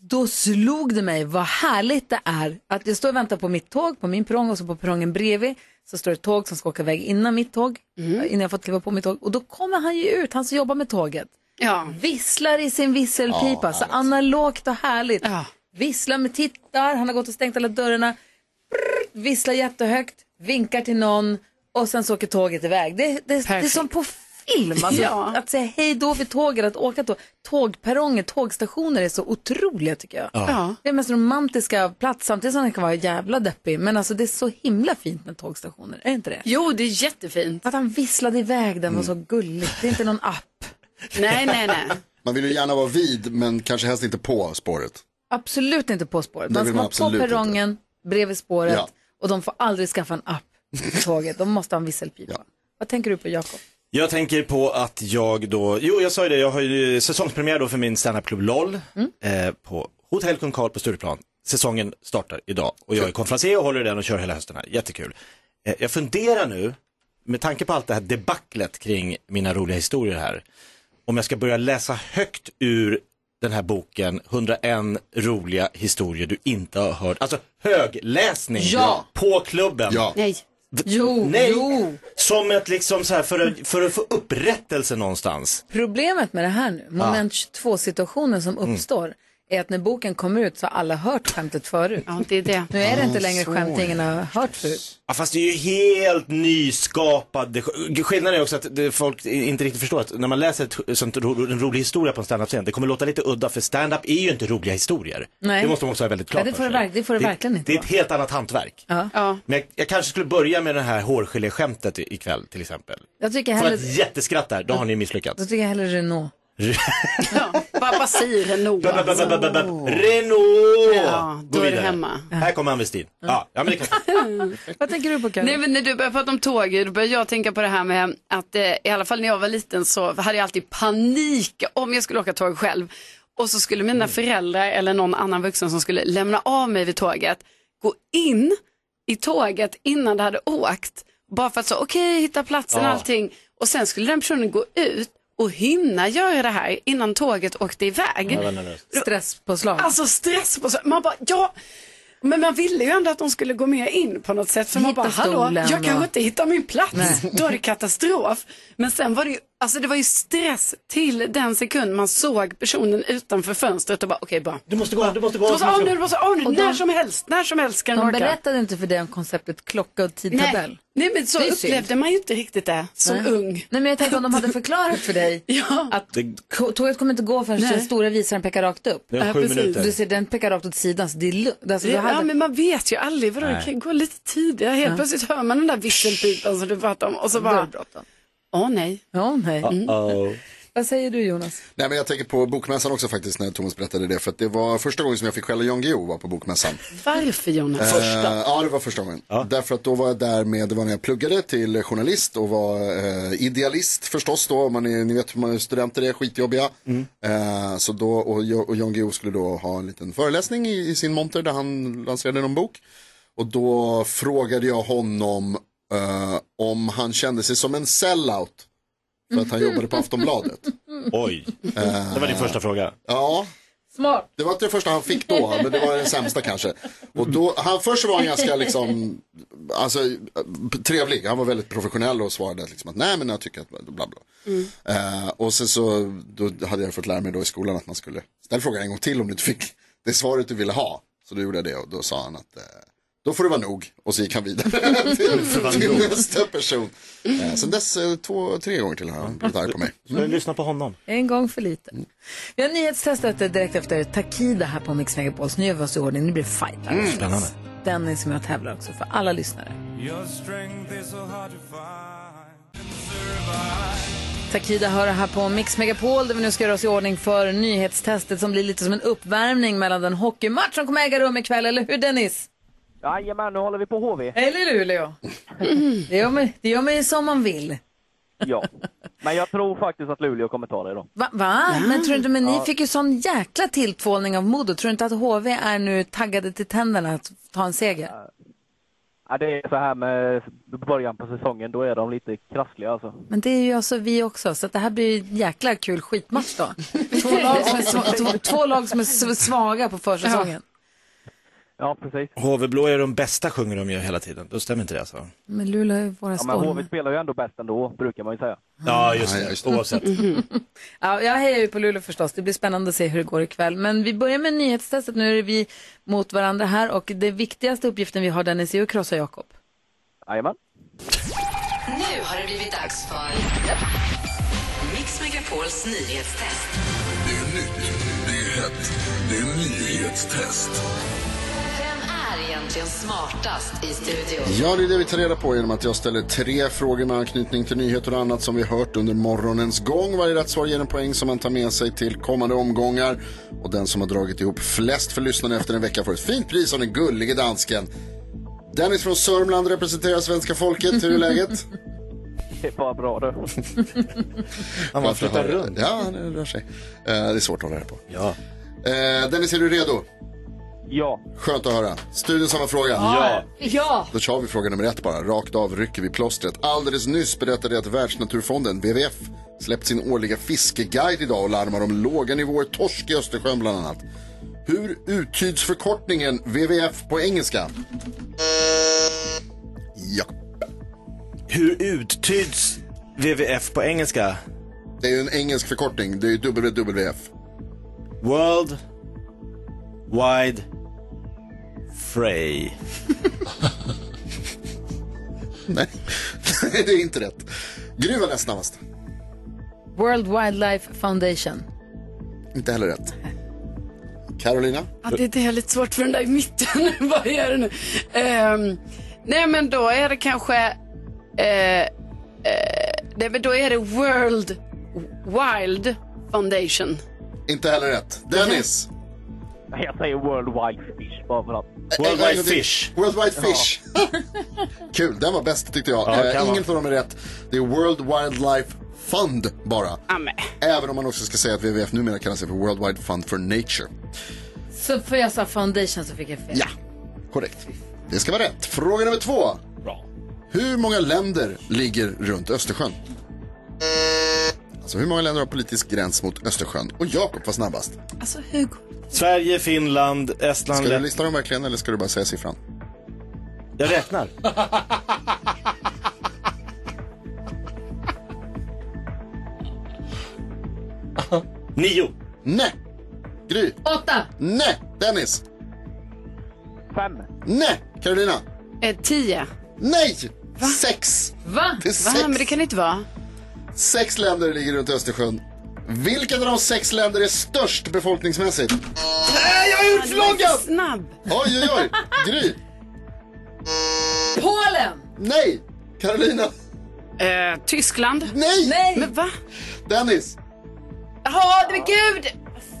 [SPEAKER 1] då slog det mig vad härligt det är att jag står och väntar på mitt tåg, på min perrong och så på perrongen bredvid så står det ett tåg som ska åka iväg innan mitt tåg, innan jag fått kliva på mitt tåg. Och då kommer han ju ut, han som jobbar med tåget. Visslar i sin visselpipa,
[SPEAKER 2] Ja,
[SPEAKER 1] så analogt och härligt. Visslar med tittar, han har gått och stängt alla dörrarna, Brrr, visslar jättehögt, vinkar till någon och sen så åker tåget iväg. Det, det, det är som på film, alltså,
[SPEAKER 2] Ja.
[SPEAKER 1] att säga hej då vid tåget, att åka tåg. Tågperronger, tågstationer är så otroliga tycker jag.
[SPEAKER 2] Ja. Ja.
[SPEAKER 1] Det är den mest romantiska plats, samtidigt som den kan vara jävla deppig. Men alltså det är så himla fint med tågstationer, är det inte det?
[SPEAKER 2] Jo, det är jättefint.
[SPEAKER 1] Att han visslade iväg den var så gulligt. Det är inte någon app.
[SPEAKER 2] Nej, nej, nej.
[SPEAKER 4] Man vill ju gärna vara vid, men kanske helst inte på spåret.
[SPEAKER 1] Absolut inte på spåret.
[SPEAKER 4] Det
[SPEAKER 1] Man
[SPEAKER 4] vill
[SPEAKER 1] ska
[SPEAKER 4] man
[SPEAKER 1] vara på
[SPEAKER 4] absolut
[SPEAKER 1] perrongen bredvid spåret
[SPEAKER 4] Ja.
[SPEAKER 1] och de får aldrig skaffa en app på tåget. De måste ha en visselpipa. Vad tänker du på Jakob?
[SPEAKER 5] Jag tänker på att jag då, jo jag sa ju det, jag har ju säsongspremiär då för min standupklubb LOL eh, på Hotell Kung Karl på Stureplan. Säsongen startar idag och jag är konferencier och håller i den och kör hela hösten här, jättekul. Eh, jag funderar nu, med tanke på allt det här debaclet kring mina roliga historier här, om jag ska börja läsa högt ur den här boken 101 roliga historier du inte har hört, alltså högläsning
[SPEAKER 2] Ja.
[SPEAKER 5] på klubben.
[SPEAKER 2] Nej.
[SPEAKER 1] Jo,
[SPEAKER 5] Nej,
[SPEAKER 1] Oh, jo.
[SPEAKER 5] som ett liksom så här för att, för att få upprättelse någonstans.
[SPEAKER 1] Problemet med det här nu, moment 22-situationen som
[SPEAKER 4] Mm.
[SPEAKER 1] uppstår, är att när boken kommer ut så har alla hört skämtet förut.
[SPEAKER 2] Ja, det är det.
[SPEAKER 1] Nu är det
[SPEAKER 5] Ah,
[SPEAKER 1] inte längre
[SPEAKER 5] så
[SPEAKER 1] skämt
[SPEAKER 5] är
[SPEAKER 1] ingen har hört förut.
[SPEAKER 5] Ja, fast det är ju helt nyskapad. Det- Skillnaden är också att det, folk i- inte riktigt förstår att när man läser ett, sånt, ro- en rolig historia på en standup-scen, det kommer låta lite udda för standup är ju inte roliga historier.
[SPEAKER 1] Nej.
[SPEAKER 5] Det måste man också ha väldigt
[SPEAKER 1] Ja,
[SPEAKER 5] klart
[SPEAKER 1] det
[SPEAKER 5] för
[SPEAKER 1] får det,
[SPEAKER 5] sig.
[SPEAKER 1] verk- det, får det verkligen inte
[SPEAKER 5] Det är
[SPEAKER 1] vara.
[SPEAKER 5] ett helt annat hantverk.
[SPEAKER 1] Ja.
[SPEAKER 5] Men jag, jag kanske skulle börja med det här hårgelé-skämtet i- ikväll till exempel.
[SPEAKER 1] Jag tycker
[SPEAKER 5] Får
[SPEAKER 1] hellre,
[SPEAKER 5] jag ett jätteskratt där, då har ni
[SPEAKER 1] då
[SPEAKER 5] misslyckats.
[SPEAKER 1] tycker jag hellre Renault.
[SPEAKER 2] Bara säger Renault.
[SPEAKER 5] Renault!
[SPEAKER 2] Ja, då
[SPEAKER 5] Gå
[SPEAKER 2] är du
[SPEAKER 5] vidare.
[SPEAKER 2] hemma.
[SPEAKER 5] Här kommer han Westin. Ja, ja, men det kan...
[SPEAKER 1] Vad tänker du på Karin?
[SPEAKER 2] Nej, men när du börjar prata om tåg, då börjar jag tänka på det här med att eh, i alla fall när jag var liten så hade jag alltid panik om jag skulle åka tåg själv. Och så skulle mina föräldrar eller någon annan vuxen som skulle lämna av mig vid tåget gå in i tåget innan det hade åkt. Bara för att så, okej, hitta platsen och
[SPEAKER 17] Ja.
[SPEAKER 2] allting. Och sen skulle den personen gå ut och hinna göra det här innan tåget åkte iväg.
[SPEAKER 1] Stresspåslag.
[SPEAKER 2] Alltså stress på så man bara ja, men man ville ju ändå att de skulle gå med in på något sätt. För man
[SPEAKER 1] Hitta
[SPEAKER 2] bara hallå,
[SPEAKER 1] stolen
[SPEAKER 2] jag kanske
[SPEAKER 1] och-
[SPEAKER 2] inte hittar min plats. Då är det katastrof. Men sen var det ju, alltså det var ju stress till den sekund man såg personen utanför fönstret och bara okej bara.
[SPEAKER 5] Du måste gå, du måste gå.
[SPEAKER 2] Du måste av nu, du måste av nu,
[SPEAKER 1] Och de-
[SPEAKER 2] när som helst, när som helst kan
[SPEAKER 1] De
[SPEAKER 2] orka.
[SPEAKER 1] berättade inte för dig om konceptet klocka och tidtabell.
[SPEAKER 2] Nej. Nej men så
[SPEAKER 1] Det är
[SPEAKER 2] upplevde
[SPEAKER 1] synd.
[SPEAKER 2] man ju inte riktigt det som
[SPEAKER 1] Nej.
[SPEAKER 2] ung.
[SPEAKER 1] Nej men jag tänkte om de hade förklarat för dig att ko- tåget kommer inte gå förrän
[SPEAKER 2] Nej.
[SPEAKER 1] den stora visaren pekar rakt upp.
[SPEAKER 2] Det är Ja, sju precis. minuter.
[SPEAKER 1] Du ser den pekar rakt åt sidan så det är lugnt. Alltså, du
[SPEAKER 2] ja,
[SPEAKER 1] hade...
[SPEAKER 2] men man vet ju aldrig, vadå, det
[SPEAKER 1] Nej.
[SPEAKER 2] kan gå lite tidigare. Helt
[SPEAKER 1] Ja.
[SPEAKER 2] plötsligt hör man den där visselpipan som du pratade om och så
[SPEAKER 1] Då är det
[SPEAKER 2] bara, åh nej.
[SPEAKER 1] Åh nej. Vad säger du Jonas?
[SPEAKER 4] Nej men jag tänker på bokmässan också faktiskt när Thomas berättade det. För att det var första gången som jag fick skälla Jan Guillou var på bokmässan.
[SPEAKER 2] Varför Jonas?
[SPEAKER 4] Eh, ja, det var första gången. Därför att då var jag där med, det var när jag pluggade till journalist och var eh, idealist förstås då. Man är, ni vet hur man är studenter är, skitjobbiga. Eh, så då, och, jag- och Jan Guillou skulle då ha en liten föreläsning i, i sin monter där han lanserade någon bok. Och då frågade jag honom eh, om han kände sig som en sellout. För att han jobbade på Aftonbladet.
[SPEAKER 5] Oj, det var din första fråga.
[SPEAKER 4] Ja,
[SPEAKER 1] Smart.
[SPEAKER 4] det var inte det första han fick då, men det var den sämsta kanske. Och då, han, först var han ganska liksom, alltså, trevlig, han var väldigt professionell och svarade liksom att nej men jag tycker att bla bla. Eh, och sen så då hade jag fått lära mig då i skolan att man skulle ställa frågan en gång till om du inte fick det svaret du ville ha. Så då gjorde jag det och då sa han att eh, då får det vara nog och så gick han vidare till, till nästa person. Eh, sen dess eh, två, tre gånger till har han blivit arg på mig.
[SPEAKER 5] Men lyssna på honom.
[SPEAKER 1] En gång för lite.
[SPEAKER 5] Mm.
[SPEAKER 1] Vi har nyhetstestet direkt efter Takida här på Mix Megapol. Så nu gör vi oss i ordning. Nu blir det fight.
[SPEAKER 5] Mm. Spännande.
[SPEAKER 1] Dennis som jag tävlar också för alla lyssnare. Takida hör här på Mix Megapol där vi nu ska göra oss i ordning för nyhetstestet som blir lite som en uppvärmning mellan den hockeymatch som kommer äga rum ikväll, eller hur Dennis?
[SPEAKER 18] Jajamän, nu håller vi på HV.
[SPEAKER 1] Eller Luleå. Det gör man, det gör man ju som man vill.
[SPEAKER 18] Ja. Men jag tror faktiskt att Luleå kommer ta det idag.
[SPEAKER 1] Va? va? Men tror du inte, men ni
[SPEAKER 18] Ja.
[SPEAKER 1] fick ju sån jäkla tilltvålning av Modo. Tror du inte att HV är nu taggade till tänderna att ta en seger?
[SPEAKER 18] Ja, det är så här med början på säsongen, då är de lite krassliga alltså.
[SPEAKER 1] Men det är ju alltså vi också, så att det här blir en jäkla kul skitmatch då. Två lag som är, sva- två, två lag som är s- svaga på försäsongen.
[SPEAKER 18] Ja, precis.
[SPEAKER 5] HV-blå är de bästa sjunger de ju hela tiden. Då stämmer inte det alltså?
[SPEAKER 1] Men Luleå är våra
[SPEAKER 18] Ja, men HV
[SPEAKER 1] stormar.
[SPEAKER 18] spelar ju ändå bäst ändå, brukar man ju säga.
[SPEAKER 5] Ja, just det. Oavsett.
[SPEAKER 1] Ja, jag hejar ju på Luleå förstås. Det blir spännande att se hur det går ikväll. Men vi börjar med nyhetstestet. Nu är det vi mot varandra här och det viktigaste uppgiften vi har Dennis är att krossa Jakob.
[SPEAKER 18] Jajamän.
[SPEAKER 7] Nu har det blivit dags för Mix Megapols nyhetstest.
[SPEAKER 15] Det är nytt, det är hett, det är nyhetstest.
[SPEAKER 7] Vem är egentligen smartast i studion?
[SPEAKER 4] Ja, det är det vi tar reda på genom att jag ställer tre frågor med anknytning till nyheter och annat som vi hört under morgonens gång. Varje rätt svar ger en poäng som man tar med sig till kommande omgångar. Och den som har dragit ihop flest för lyssnarna efter en vecka får ett fint pris av den gullige dansken. Dennis från Sörmland representerar svenska folket. Hur är läget?
[SPEAKER 18] Det är bara bra du.
[SPEAKER 4] Han
[SPEAKER 18] bara flyttar runt.
[SPEAKER 4] Ja, han rör sig. Eh, Det är svårt att hålla reda på. Ja. Dennis, är du redo?
[SPEAKER 18] Ja.
[SPEAKER 4] Skönt att höra. Studion samma fråga.
[SPEAKER 11] Ja.
[SPEAKER 4] Då kör vi fråga nummer ett bara. Rakt av rycker vi plåstret. Alldeles nyss berättade jag att Världsnaturfonden, WWF, släppt sin årliga fiskeguide idag och larmar om låga nivåer torsk i Östersjön bland annat. Hur uttyds förkortningen WWF på engelska? Ja.
[SPEAKER 5] Hur uttyds WWF på engelska?
[SPEAKER 4] Det är ju en engelsk förkortning. Det är ju WWF.
[SPEAKER 5] World Wide Fray.
[SPEAKER 4] Nej, det är inte rätt. Gry var näst snabbast.
[SPEAKER 1] World Wildlife Foundation.
[SPEAKER 4] Inte heller rätt. Carolina?
[SPEAKER 11] Ja, det, det är lite svårt för den där i mitten. Vad är det nu? Ehm, nej, men då är det kanske... eh, eh, nej, men då är det World Wild Foundation.
[SPEAKER 4] Inte heller rätt. Dennis?
[SPEAKER 18] Jag säger World Wild Fish bara för att.
[SPEAKER 4] Worldwide Fish. Worldwide Fish. Kul, den var bäst tyckte jag.
[SPEAKER 18] Ja,
[SPEAKER 4] eh,
[SPEAKER 18] kan
[SPEAKER 4] ingen av dem är rätt. Det är World Wildlife Fund bara.
[SPEAKER 11] Amen.
[SPEAKER 4] Även om man också ska säga att WWF numera kallar sig för World Wide Fund for Nature.
[SPEAKER 1] Så för jag sa foundation så fick jag fel.
[SPEAKER 4] Ja. Korrekt. Det ska vara rätt. Fråga nummer två. Hur många länder ligger runt Östersjön? Alltså hur många länder har politisk gräns mot Östersjön? Och Jakob var snabbast.
[SPEAKER 11] Alltså, Hugo.
[SPEAKER 5] Sverige, Finland, Estland...
[SPEAKER 4] Ska du
[SPEAKER 5] Lettland-
[SPEAKER 4] lista dem verkligen eller ska du bara säga siffran?
[SPEAKER 5] Jag räknar. Nio.
[SPEAKER 4] Nej. Gry.
[SPEAKER 1] Åtta.
[SPEAKER 4] Nej. Dennis.
[SPEAKER 18] Fem.
[SPEAKER 4] Nej. Carolina.
[SPEAKER 11] Eh, tio.
[SPEAKER 4] Nej! Sex!
[SPEAKER 1] Va?
[SPEAKER 4] Det är
[SPEAKER 11] Va?
[SPEAKER 4] sex.
[SPEAKER 11] Men det kan det inte vara.
[SPEAKER 4] Sex länder ligger runt Östersjön. Vilket av de sex länder är störst befolkningsmässigt? Nej, jag är utfloggad!
[SPEAKER 11] Snabb.
[SPEAKER 4] Oj, oj, oj. Gry.
[SPEAKER 1] Polen!
[SPEAKER 4] Nej. Carolina.
[SPEAKER 11] Eh, Tyskland.
[SPEAKER 4] Nej.
[SPEAKER 1] Nej.
[SPEAKER 11] Men va?
[SPEAKER 4] Dennis.
[SPEAKER 11] Ja, men gud!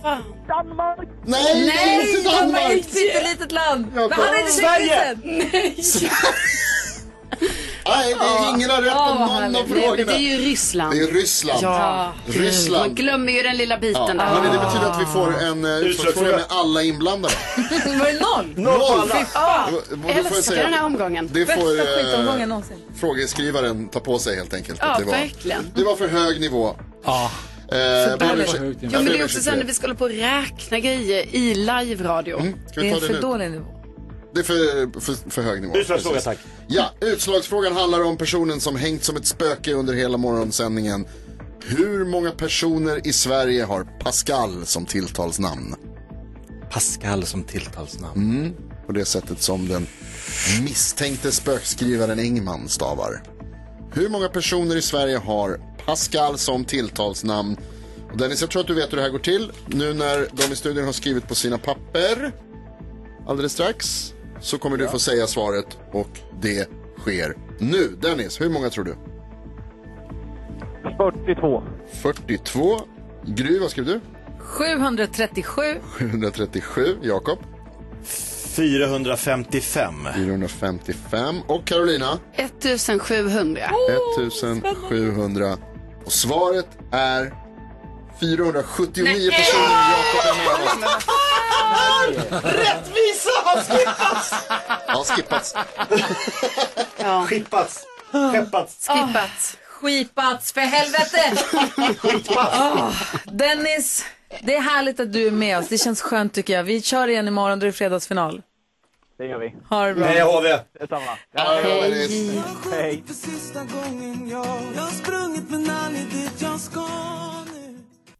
[SPEAKER 11] Fan.
[SPEAKER 18] Danmark.
[SPEAKER 4] Nej,
[SPEAKER 1] Nej,
[SPEAKER 4] det är inte
[SPEAKER 1] Danmark!
[SPEAKER 4] Danmark.
[SPEAKER 1] är ett pyttelitet land! Men
[SPEAKER 4] Jakob.
[SPEAKER 1] han är inte
[SPEAKER 4] Sverige.
[SPEAKER 1] Nej!
[SPEAKER 4] Nej, det är ingen har rätt på
[SPEAKER 11] Åh, vad
[SPEAKER 4] någon
[SPEAKER 11] härligt.
[SPEAKER 4] av
[SPEAKER 11] Nej,
[SPEAKER 4] frågorna.
[SPEAKER 11] men det är ju Ryssland.
[SPEAKER 4] Det är Ryssland.
[SPEAKER 11] Ja. Man
[SPEAKER 4] Ryssland.
[SPEAKER 11] glömmer ju den lilla biten
[SPEAKER 4] Ja.
[SPEAKER 11] där.
[SPEAKER 4] Hörrni, det betyder att vi får en uh, utslagsfråga med alla inblandade.
[SPEAKER 1] Var det noll?
[SPEAKER 4] Fy
[SPEAKER 11] Ah,
[SPEAKER 4] fan. Då- då får jag
[SPEAKER 11] älskar
[SPEAKER 4] säga-
[SPEAKER 11] den här omgången.
[SPEAKER 4] Det får
[SPEAKER 1] Bästa skitomgången
[SPEAKER 4] eh,
[SPEAKER 1] någonsin.
[SPEAKER 4] frågeskrivaren ta på sig helt enkelt.
[SPEAKER 11] Ja,
[SPEAKER 4] att det var,
[SPEAKER 11] verkligen.
[SPEAKER 4] Det var för hög nivå. Ja. Eh,
[SPEAKER 11] Där
[SPEAKER 4] jag ber-
[SPEAKER 11] är-
[SPEAKER 4] jag
[SPEAKER 11] Jo, men
[SPEAKER 4] ber
[SPEAKER 11] det
[SPEAKER 4] om
[SPEAKER 11] är också
[SPEAKER 4] ursäkt
[SPEAKER 11] sen
[SPEAKER 4] för
[SPEAKER 11] när vi ska hålla på och räkna grejer i live-radio.
[SPEAKER 4] Ska vi ta det nu?
[SPEAKER 1] nivå.
[SPEAKER 4] Det är för, för, för hög nivå.
[SPEAKER 5] Utslagsfråga,
[SPEAKER 4] Precis.
[SPEAKER 5] tack.
[SPEAKER 4] Ja, utslagsfrågan handlar om personen som hängt som ett spöke under hela morgonsändningen. Hur många personer i Sverige har Pascal som tilltalsnamn?
[SPEAKER 5] Pascal som tilltalsnamn.
[SPEAKER 4] Mm, på det sättet som den misstänkte spökskrivaren Engman stavar. Hur många personer i Sverige har Pascal som tilltalsnamn? Och Dennis, jag tror att du vet hur det här går till. Nu när de i studion har skrivit på sina papper alldeles strax så kommer du få säga svaret och det sker nu. Dennis, hur många tror du?
[SPEAKER 18] 42.
[SPEAKER 4] 42. Gry, vad skrev du?
[SPEAKER 1] 737.
[SPEAKER 4] 737. Jakob?
[SPEAKER 5] 455.
[SPEAKER 4] 455. Och Carolina?
[SPEAKER 11] 1700.
[SPEAKER 4] 1700. Och svaret är 479 personer. Jakob är med oss.
[SPEAKER 18] Rättvisa har skippats!
[SPEAKER 4] Ja, skippats.
[SPEAKER 18] Ja. Skippats. Skeppats.
[SPEAKER 1] Skippats. Skipats, för helvete! Åh, Ah, Dennis, det är härligt att du är med oss. Det känns skönt tycker jag. Vi kör igen imorgon, då är det fredagsfinal.
[SPEAKER 19] Det gör vi.
[SPEAKER 1] Ha det bra.
[SPEAKER 18] Hej, HV.
[SPEAKER 19] Detsamma.
[SPEAKER 18] Hej.
[SPEAKER 19] Hej.
[SPEAKER 20] För sista gången jag jag har sprungit men aldrig dit jag ska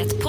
[SPEAKER 10] Ett